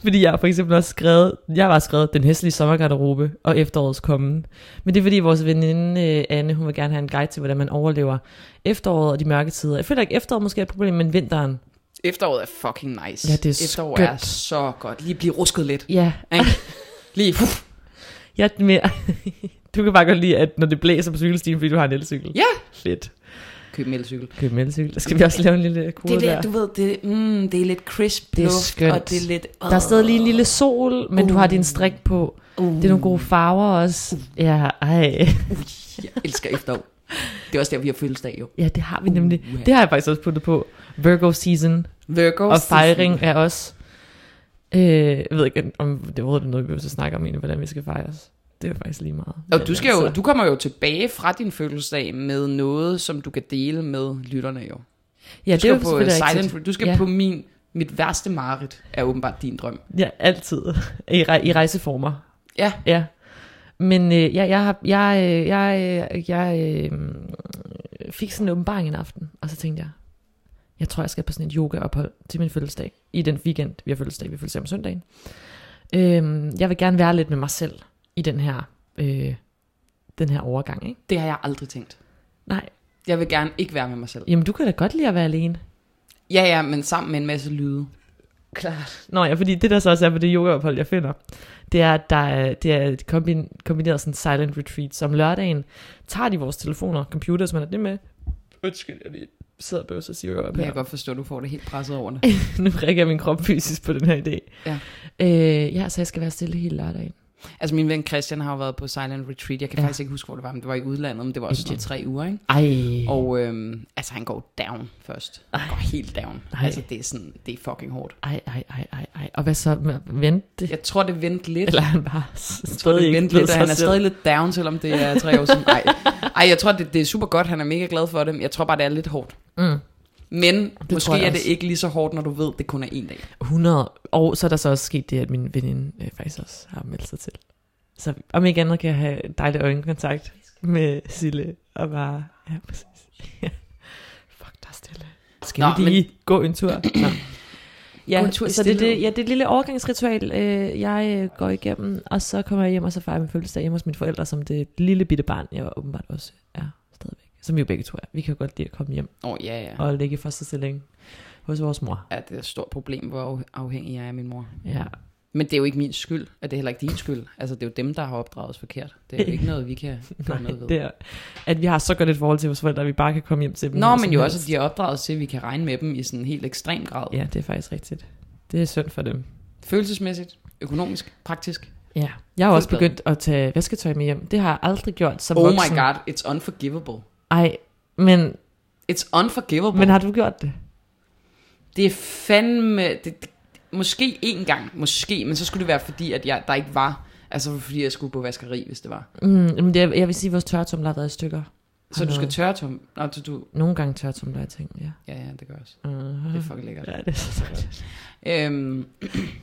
A: Fordi jeg har for eksempel også skrevet, jeg har bare skrevet den hæslige sommergarderobe og efterårets kommen. Men det er fordi vores veninde øh, Anne, hun vil gerne have en guide til, hvordan man overlever efteråret og de mørke tider. Jeg føler ikke, efteråret måske er et problem, men vinteren.
B: Efteråret er fucking nice.
A: Ja, det er
B: Efterår
A: skønt.
B: er så godt. Lige blive rusket lidt.
A: Ja,
B: Ikke? Lige, puh.
A: jeg er mere... du kan bare godt lide, at når det blæser på cykelstien, fordi du har en elcykel.
B: Ja.
A: Fedt.
B: køb en elcykel.
A: Køb en elcykel. Skal vi også lave en lille kode
B: Det er
A: der?
B: lidt, du ved, det, mm, det er lidt crisp
A: Det er
B: luft,
A: skønt.
B: og det er lidt...
A: Der er stadig lige en lille sol, men uh. du har din strik på. Uh. Det er nogle gode farver også. Ja, ej.
B: Uh, Jeg elsker efterår. Det er også der, vi har fødselsdag jo.
A: Ja, det har vi nemlig.
B: Uha.
A: Det har jeg faktisk også puttet på. Virgo season
B: Virgo
A: og fejring af os. Øh, jeg ved ikke, om det overhovedet er noget, vi behøver at snakke om egentlig, hvordan vi skal fejres. Det er faktisk lige meget.
B: Og du, skal jo,
A: Altså,
B: du kommer jo tilbage fra din fødselsdag med noget, som du kan dele med lytterne jo. Du
A: ja, det er
B: skal
A: jo
B: på øh,
A: selvfølgelig rigtigt.
B: silent, Du skal
A: Ja.
B: på min... Mit værste mareridt er åbenbart din drøm.
A: Ja, altid. I, rej- i rejseformer.
B: Ja.
A: Ja. Men øh, jeg, jeg, har, jeg, øh, jeg, øh, jeg øh, fik sådan en åbenbaring en aften, og så tænkte jeg, jeg tror, jeg skal på sådan et yogaophold til min fødselsdag. I den weekend, vi har fødselsdag, vi har fødselsdag om søndagen. Øh, jeg vil gerne være lidt med mig selv i den her, øh, den her overgang. Ikke?
B: Det har jeg aldrig tænkt.
A: Nej,
B: Jeg vil gerne ikke være med mig selv.
A: jamen du kan da godt lide at være alene.
B: Ja, ja, men sammen med en masse lyde.
A: Klart. Nå ja, fordi det der så også er på det yogaophold, jeg finder, det er, at der er, det er et kombin- kombineret sådan silent retreat, som lørdagen tager de vores telefoner og computer, så man har det med. Undskyld, jeg lige sidder og bøvser og siger
B: Det
A: op
B: kan
A: her.
B: jeg godt forstå, at du får det helt presset over det.
A: nu rækker min krop fysisk på den her idé.
B: Ja.
A: Øh, ja, så jeg skal være stille hele lørdagen.
B: Altså, min ven Christian har jo været på Silent Retreat. Jeg kan
A: Ja.
B: ja. faktisk ikke huske, hvor det var, men det var i udlandet, men det var også
A: Indien.
B: sådan tre uger, ikke?
A: Ej. Og,
B: Og øhm, altså, han går down først. Han går helt down.
A: Ej.
B: Ej. Altså, det er, sådan, det er fucking hårdt.
A: ej, ej, ej, ej, ej. Og hvad så? med- Vente? det?
B: Jeg tror, det vendte lidt.
A: Eller er han bare stadig ikke
B: vente
A: blevet
B: lidt, og
A: sig
B: han er
A: selv?
B: stadig lidt down, selvom det er tre år siden. Ej, Ej jeg tror, det, det er super godt. Han er mega glad for det. men Jeg tror bare, det er lidt hårdt.
A: Mm.
B: Men det måske
A: tror jeg
B: er det
A: også.
B: ikke lige så hårdt, når du ved, det kun er en dag.
A: 100. Og så er der så også sket det, at min veninde øh, faktisk også har meldt sig til. Så om ikke andet kan jeg have dejlig øjenkontakt med Sille og bare... Ja, præcis. Ja. Fuck dig stille. Skal
B: Nå,
A: Nå, vi lige men... gå en tur? Nå. Ja,
B: Gå en tur i
A: så det er det,
B: stillheden.
A: ja, det er et lille overgangsritual, øh, jeg øh, går igennem, og så kommer jeg hjem, og så fejrer jeg min fødselsdag hjemme hos mine forældre, som det lille bitte barn, jeg åbenbart også er stadigvæk. Som vi jo begge to er. Vi kan jo godt lide at komme hjem
B: Åh, oh, ja, ja.
A: og ligge i første stilling hos vores mor.
B: Ja, det er et stort problem, hvor af- afhængig jeg er af min mor.
A: Ja,
B: Men det er jo ikke min skyld, og det er heller ikke din skyld. Altså, det er jo dem, der har opdraget os forkert. Det er jo ikke noget, vi kan gøre
A: Nej,
B: noget ved.
A: det er, at vi har så godt et forhold til vores forældre, at vi bare kan komme hjem til dem.
B: Nå,
A: når som
B: men jo
A: helst.
B: også, at de er opdraget til, at vi kan regne med dem i sådan en helt ekstrem grad.
A: Ja, det er faktisk rigtigt. Det er synd for dem.
B: Følelsesmæssigt, økonomisk, praktisk.
A: Ja. Jeg har også
B: Fuldblad.
A: begyndt at tage vasketøj med hjem. Det har jeg aldrig gjort som
B: Oh
A: voksen.
B: my god, it's unforgivable.
A: Ej, men,
B: It's unforgivable.
A: men har du gjort det?
B: Det er fandme... Det, det, måske én gang, måske, men så skulle det være fordi, at jeg, der ikke var... Altså fordi jeg skulle på vaskeri, hvis det var.
A: Mm, jamen det er, jeg vil sige, at vores tørretumler har været i stykker.
B: Så du
A: Hallo.
B: skal tørre, Tom. Nå, du, du...
A: Nogle gange tørretumler, jeg tænker, ja.
B: Ja, ja, det gør jeg også.
A: Uh-huh.
B: Det er fucking lækkert.
A: Ja, det er så dejligt.
B: Øhm,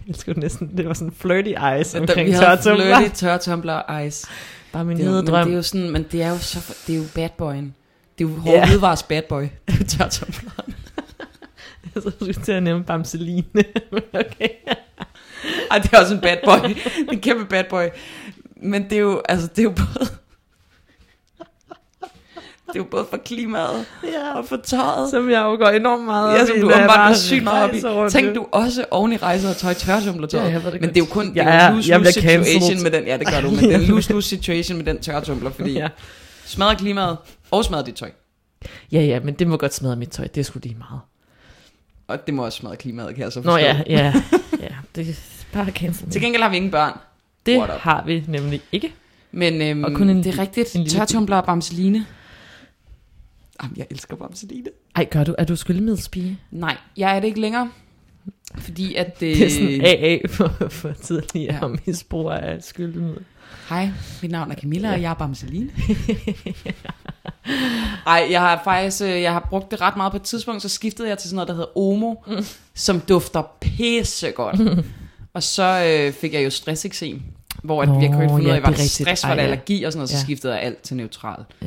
A: Jeg skulle næsten, det var sådan flirty eyes
B: der, vi
A: omkring
B: havde
A: tørretumler.
B: flirty tørretumbler og ice.
A: Bare min
B: Det er, jo,
A: hede
B: men det
A: drøm.
B: er jo sådan, men det er jo så, det er jo bad boyen. Det er jo hårde yeah. hvidevares bad boy. Det er tørretumbler.
A: Så skulle jeg til at nævne Bamseline. okay.
B: Ej, det er også en bad boy. Det er en kæmpe bad boy. Men det er jo, altså, det er jo både... Det er jo både for klimaet
A: Ja,
B: og for tøjet.
A: som jeg jo går enormt meget
B: Ja, som
A: i,
B: du
A: når jeg
B: åbenbart
A: bare
B: går sygt meget op i.
A: rejser rundt.
B: Tænk du også oven i rejser og tøj tørretumbler tøjet.
A: Ja, jeg ved det
B: men
A: godt.
B: det er jo kun det
A: Jeg
B: er
A: er-
B: jo en
A: jeg
B: lose-lose
A: bliver
B: situation
A: cancelled.
B: med den. Ja, det gør du, men det er en lose-lose situation med den tørretumbler, fordi
A: Ja.
B: ja. smadrer klimaet og smadrer dit tøj.
A: ja, ja, men det må godt smadre mit tøj. Det er sgu lige meget.
B: Og det må også smadre klimaet, kan jeg så forstå.
A: Nå ja, ja, ja. Det er bare cancel.
B: Til gengæld har vi ingen børn.
A: Det
B: What up?
A: har vi nemlig ikke.
B: Men øhm,
A: Og kun en-
B: det er rigtigt.
A: en
B: En
A: lille
B: Tørtumbler og bamseline. Jamen, jeg elsker bamseline.
A: Ej, gør du? Er du skyldemiddelspige?
B: Nej, jeg er det ikke længere. Fordi at... Øh,
A: Det er sådan AA for, for tidligere
B: Ja.
A: ja. misbrug af skyldemiddel.
B: Hej, mit navn er Camilla,
A: Ja.
B: og jeg er bamseline. Ej, jeg har faktisk øh, jeg har brugt det ret meget på et tidspunkt, så skiftede jeg til sådan noget, der hedder Omo, mm. som dufter pissegodt. Mm. Og så øh, fik jeg jo stresseksem, hvor at
A: Nå,
B: vi har kunnet finde ud
A: ja,
B: af, at jeg
A: det
B: var
A: er rigtigt.
B: stress for
A: Ej,
B: det
A: ja.
B: allergi og sådan noget, så
A: Ja.
B: skiftede jeg alt til neutral.
A: Ja.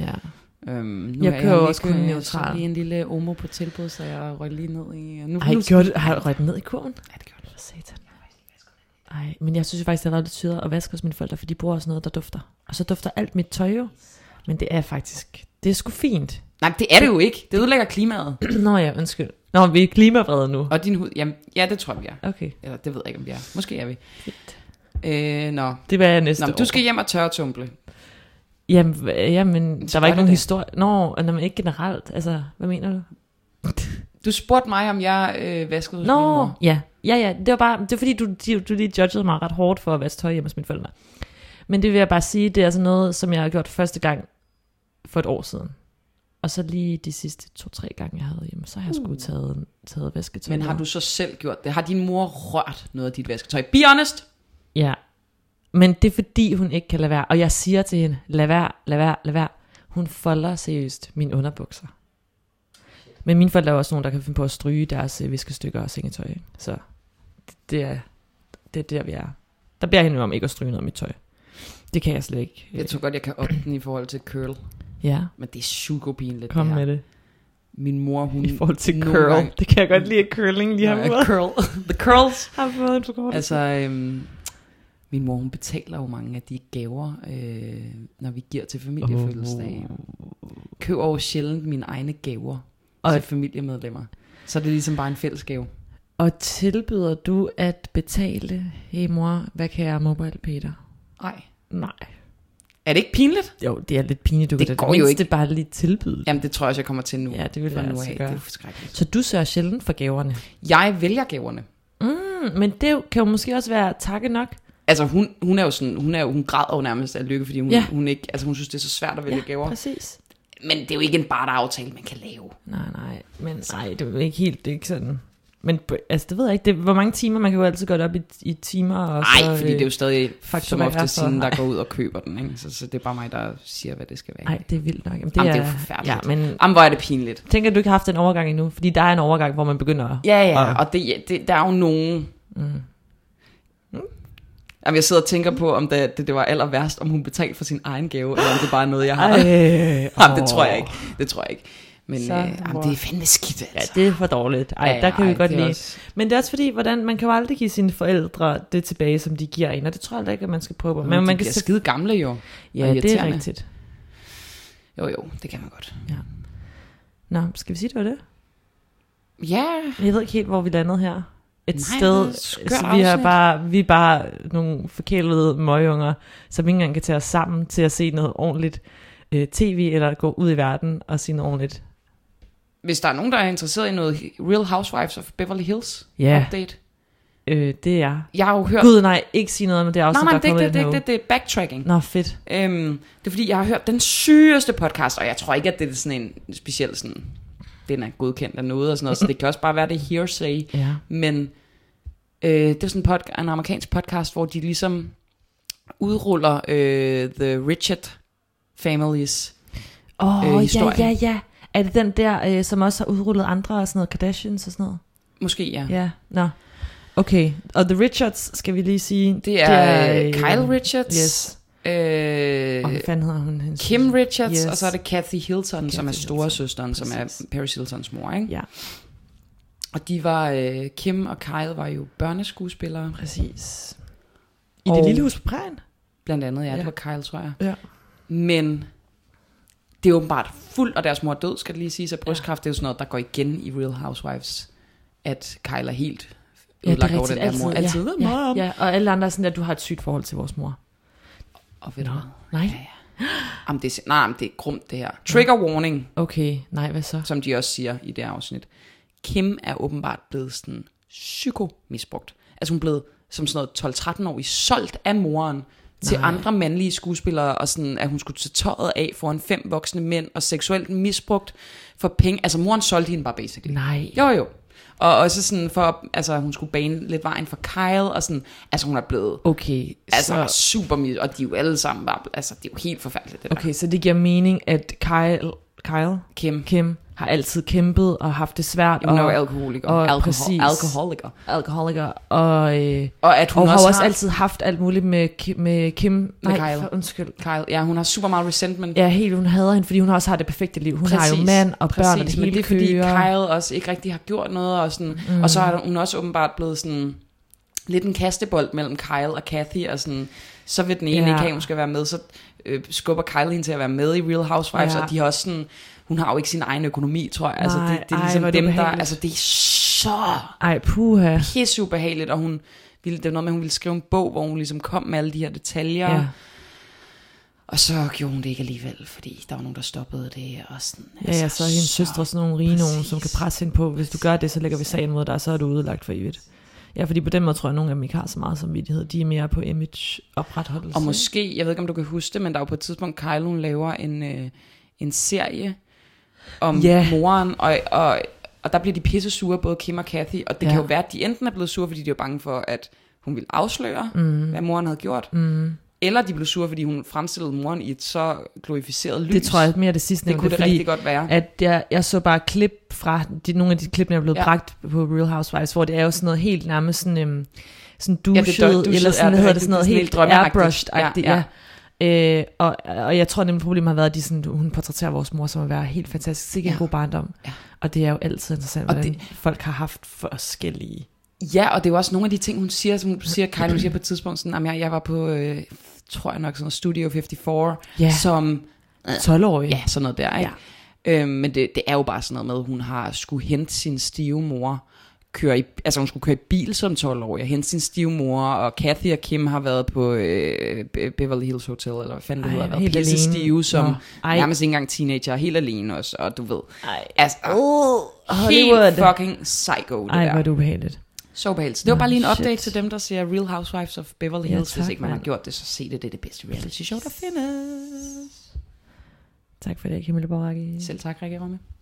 B: Øhm, nu
A: Jeg
B: er
A: kører
B: lige
A: også kun
B: kø-
A: neutral.
B: så lige en lille omo på tilbud, så jeg røg lige ned i... øh, Nu,
A: Ej,
B: Mm-hmm. nu,
A: gjorde du, har du rødt ned i kurven?
B: Ja, det gjorde
A: For satan. Ej, men jeg synes jo faktisk, det er ret lidt syret at vaske hos mine forældre, for de bruger også noget, der dufter. Og så dufter alt mit tøj jo. Men det er faktisk, det er sgu fint.
B: Nej, det er det jo ikke. Det ødelægger klimaet.
A: Nå ja, undskyld. Nå, vi er klimavrede nu.
B: Og din hud... Jamen, ja, det tror jeg, vi er.
A: Okay,
B: Eller det ved jeg ikke, om vi er. Måske er vi.
A: fedt.
B: Øh, nå.
A: Det var jeg næste
B: nå men
A: år.
B: du skal hjem og tørretumble.
A: Jamen, hva- jamen
B: Så
A: der var
B: var
A: ikke
B: det
A: nogen
B: det. historie.
A: historie. Nå, når man ikke generelt. Altså, hvad mener du?
B: Du spurgte mig, om jeg øh, vaskede hos min
A: Nå,
B: mor.
A: ja. Ja, ja. Det var bare, det var fordi, du, du, du lige judgede mig ret hårdt for at vaske tøj hjemme hos mine forældre. Men det vil jeg bare sige, det er altså noget, som jeg har gjort første gang for et år siden. Og så lige de sidste to-tre gange, jeg havde hjemme, så har jeg sgu taget, taget vasketøj.
B: Hmm. Men har
A: med.
B: du så selv gjort det? Har din mor rørt noget af dit vasketøj? Be honest!
A: Ja. Men det er fordi, hun ikke kan lade være. Og jeg siger til hende, lad være, lad være, lad være. Hun folder seriøst mine underbukser. Men mine forældre er også nogen, der kan finde på at stryge deres øh, viskestykker og sengetøj. ikke? Så det, det, er, det er der, vi er. Der beder jeg hende om ikke at stryge noget af mit tøj. Det kan jeg slet ikke.
B: Jeg tror godt, jeg kan op den i forhold til curl.
A: Ja,
B: Men det er psykopinligt,
A: kom
B: det her.
A: med det.
B: Min mor, hun...
A: I forhold til
B: nogle
A: curl.
B: gange-
A: Det kan jeg godt lide, at curling lige har
B: Nej,
A: fået.
B: curl. The curls!
A: Har fået en forkortelse.
B: Altså, øhm, min mor, hun betaler jo mange af de gaver, øh, når vi giver til familiefødselsdage. Køber jo sjældent mine egne gaver og
A: Og-
B: til familiemedlemmer. Så er det ligesom bare en fælles gave.
A: Og tilbyder du at betale? Hey mor, hvad kan jeg mobile, Peter?
B: Nej.
A: Nej.
B: Er det ikke pinligt?
A: Jo, det er lidt pinligt, du
B: Det
A: kan da
B: går jo
A: mindste bare lige tilbyde. Ja.
B: Jamen, det tror jeg også, jeg kommer til nu.
A: Ja, det vil
B: Fra
A: jeg
B: nu
A: altså
B: af.
A: gøre.
B: Det er forskrækkeligt.
A: Så du sørger sjældent for gaverne.
B: Jeg vælger gaverne.
A: Mm, men det kan jo måske også være takke nok.
B: Altså, hun, hun er jo sådan, hun, er jo, hun græder jo nærmest af lykke, fordi hun, ja.
A: Ja.
B: hun, ikke, altså, hun synes, det er så svært at vælge ja. gaver.
A: præcis.
B: Men det er jo ikke en barter aftale, man kan lave.
A: Nej, nej, men nej, det er jo ikke helt, det er ikke sådan. Men på- altså, det ved jeg ikke, det, hvor mange timer, man kan jo altid gå det op i, i timer. Og så,
B: Nej, fordi det er jo stadig
A: faktum
B: som
A: er
B: ofte
A: for-
B: siden, der går ud og køber den. Ikke? Så, så det er bare mig, der siger, hvad det skal være.
A: Nej, øh, det er vildt nok. Jamen, det,
B: Jamen,
A: er,
B: det er jo forfærdeligt.
A: Ja, men
B: Jamen, hvor er det pinligt.
A: tænker du ikke har haft en overgang endnu? Fordi der er en overgang, hvor man begynder at...
B: Ja, ja,
A: Og-
B: og det, ja, det, der er jo nogen... Mm. Jamen, jeg sidder og tænker på, om det, det, det var aller værst, om hun betalte for sin egen gave, eller om det bare er noget, jeg har.
A: Ej,
B: Jamen, det
A: åh.
B: tror jeg ikke. Det tror jeg ikke. Men øh,
A: Så,
B: jamen,
A: mor.
B: det er fandme skidt,
A: Ja,
B: altså.
A: det er for dårligt. Ej,
B: Ja, ja,
A: der kan vi
B: ej,
A: godt
B: det er
A: lide.
B: også-
A: Men det er også fordi, hvordan, man kan jo aldrig give sine forældre det tilbage, som de giver en, og det tror jeg heller ikke, at man skal prøve på. Men man kan
B: de skide gamle jo. og
A: Ja, det er
B: irriterende.
A: rigtigt.
B: Jo, jo, det kan man godt.
A: Nå, skal vi sige, det var det?
B: Ja,
A: Jeg ved ikke helt, hvor vi landede her. et
B: Nej,
A: sted.
B: hvor er det et skørt
A: så vi er,
B: afsnit.
A: bare, vi er bare nogle forkælede møgunger, som ikke engang kan tage os sammen til at se noget ordentligt øh, tv, eller gå ud i verden og sige noget ordentligt.
B: Hvis der er nogen, der er interesseret i noget Real Housewives of Beverly Hills
A: Ja.
B: update.
A: Øh, det er
B: Jeg har jo hørt...
A: Gud nej, ikke sige noget om det
B: Nej,
A: afsnit,
B: nej,
A: der
B: det er ikke
A: kommer i
B: det, det, er
A: den
B: ikke
A: her
B: det, det er backtracking.
A: uge. Nå, fedt.
B: Øhm, det er fordi, jeg har hørt den sygeste podcast, og jeg tror ikke, at det er sådan en speciel sådan... Den er godkendt af noget og sådan noget, så det kan også bare være det er hearsay.
A: Ja.
B: Men øh, det er sådan en, podca- en amerikansk podcast, hvor de ligesom udruller øh, The Richard Families.
A: Åh,
B: Øh,
A: oh, ja,
B: historien.
A: ja, ja. Er det den der, øh, som også har udrullet andre og sådan noget, Kardashians og sådan noget?
B: Måske, ja.
A: Ja, nå. Okay, og The Richards skal vi lige sige.
B: Det er, det er
A: øh,
B: øh, Kyle Richards,
A: Yes.
B: øh,
A: Og hvad fanden hedder hun? Hendes
B: Kim Richards,
A: Yes.
B: yes. og så er det Kathy Hilton, Kathy som er
A: Hilton,
B: storesøsteren, som er
A: præcis.
B: Paris Hiltons mor. Ikke?
A: Ja.
B: Og de var, øh, Kim og Kyle var jo børneskuespillere,
A: Præcis. I
B: Og-
A: det lille hus på prægen?
B: blandt andet, ja,
A: Ja.
B: det var Kyle, tror jeg.
A: Ja.
B: Men det er åbenbart fuldt, og deres mor er død, skal det lige siges, at brystkræft, det er jo sådan noget, der går igen i Real Housewives, at Kyle er helt ødelagt over den der mor. Altid,
A: ja,
B: mom.
A: ja, ja, og alle andre er sådan, at du har et sygt forhold til vores mor.
B: Og ved du
A: Nå.
B: hvad?
A: Nej.
B: Ja, ja. Jamen, det er, sin- nej, men det er grumt, det her. Trigger warning.
A: Okay, nej, hvad så?
B: som de også siger i det afsnit. Kim er åbenbart blevet sådan psykomisbrugt. Altså hun er blevet som sådan noget 12-13 år i solgt af moren til
A: Nej.
B: andre mandlige skuespillere, og sådan, at hun skulle tage tøjet af foran fem voksne mænd, og seksuelt misbrugt for penge. Altså moren solgte hende bare basically.
A: Nej.
B: Jo jo. Og også sådan for, altså hun skulle bane lidt vejen for Kyle, og sådan, altså hun er blevet
A: Okay,
B: altså,
A: så,
B: super mis, og de er jo alle sammen bare, altså det er jo helt forfærdeligt det okay.
A: okay, så det giver mening, at Kyle, Kyle
B: der. Kim,
A: Kim har altid kæmpet og haft det svært.
B: hun er jo
A: og,
B: alkoholiker,
A: og
B: alkohol,
A: præcis.
B: alkoholiker.
A: alkoholiker, og, øh,
B: Og at hun
A: og har
B: også
A: også altid haft alt muligt med, Ki- med Kim. Nej,
B: Kyle.
A: For, undskyld.
B: Kyle, ja, hun har super meget resentment.
A: Ja, helt, hun hader hende, fordi hun også har det perfekte liv. Hun har jo mand og børn, og det hele
B: men det er fordi
A: kører.
B: Kyle også ikke rigtig har gjort noget, og, sådan, mm. og så er hun også åbenbart blevet sådan lidt en kastebold mellem Kyle og Kathy, og sådan, så vil den ene
A: Ja.
B: ja. ikke have, hun skal være med, så øh, skubber Kyle hende til at være med i Real Housewives,
A: Ja.
B: ja. og de har også sådan, hun har jo ikke sin egen økonomi, tror jeg. altså,
A: Nej,
B: det, det er
A: ej,
B: ligesom
A: hvor er det
B: dem, der,
A: ubehageligt.
B: altså det er så
A: Ej, puha.
B: pisse ubehageligt, og hun ville, det var noget med, at hun ville skrive en bog, hvor hun ligesom kom med alle de her detaljer,
A: Ja.
B: ja. Og så gjorde hun det ikke alligevel, fordi der var nogen, der stoppede det. Og sådan, altså.
A: Ja, ja, så er hendes søstre sådan nogle rige nogen, som kan
B: præcis.
A: presse hende på. Hvis du gør det, så lægger vi sagen mod dig, og så er du ødelagt for evigt. Ja, fordi på den måde tror jeg, at nogle af dem ikke har så meget samvittighed. De er mere på image opretholdelse.
B: Og måske, jeg ved ikke, om du kan huske det, men der var på et tidspunkt, Kylo hun laver en, øh, en serie om
A: Ja.
B: moren, og, og, og der bliver de pisse sure, både Kim og Kathy. Og
A: Ja.
B: det ja. kan jo være, at de enten er blevet sure, fordi de var bange for, at hun ville afsløre, mm. hvad moren havde gjort. Mm. Eller de blev sure, fordi hun fremstillede moren i et så glorificeret lys.
A: Det tror jeg mere det sidste.
B: det kunne det, det
A: fordi,
B: rigtig godt være.
A: at jeg, jeg så bare klip fra de, nogle af de klip, der er blevet ja.
B: Ja.
A: bragt på Real Housewives, hvor det er jo sådan noget helt nærmest sådan, øhm, sådan
B: er
A: duschet, ja,
B: dusjet,
A: eller
B: ja,
A: sådan,
B: det
A: hvad hedder
B: er
A: det,
B: rigtigt,
A: sådan noget
B: det er
A: helt
B: sådan helt
A: airbrushed-agtigt. Ja,
B: drømmeagtigt.
A: ja. Øh, og, og jeg tror nemlig, problemet har været, at de sådan, hun portrætterer vores mor som at være helt fantastisk, sikkert ja. en
B: Ja.
A: god barndom. Ja.
B: Ja.
A: Og det er jo altid interessant,
B: Og
A: hvordan det... folk har haft forskellige...
B: Ja, og det er jo også nogle af de ting, hun siger, som hun siger, Kyle, hun siger på et tidspunkt, sådan, at jeg, jeg var på, øh, tror jeg nok, sådan noget Studio 54,
A: Ja,
B: som,
A: 12-årige.
B: ja, sådan noget der, ikke? Ja. Øhm, men det, det er jo bare sådan noget med, at hun har skulle hente sin stive mor, køre i, altså hun skulle køre i bil som 12 år, jeg hente sin stive mor, og Kathy og Kim har været på øh, Be- Beverly Hills Hotel, eller hvad fanden det hedder, været pisse stive, som
A: Nå.
B: Ej.
A: Ej,
B: nærmest ikke engang teenager, helt alene også, og du ved,
A: ej,
B: altså,
A: Hollywood.
B: helt fucking psycho, det
A: ej,
B: der.
A: hvor er det ubehageligt.
B: Så ubehageligt. Så det var
A: Nå,
B: bare lige en
A: shit.
B: update til dem, der ser Real Housewives of Beverly
A: Ja,
B: Hills. Ja,
A: tak,
B: Hvis ikke man har
A: mand.
B: gjort det, så se det. Det er det bedste reality show, der findes.
A: Tak for det, Camilla Boracchi.
B: Selv tak, Rikke Romme.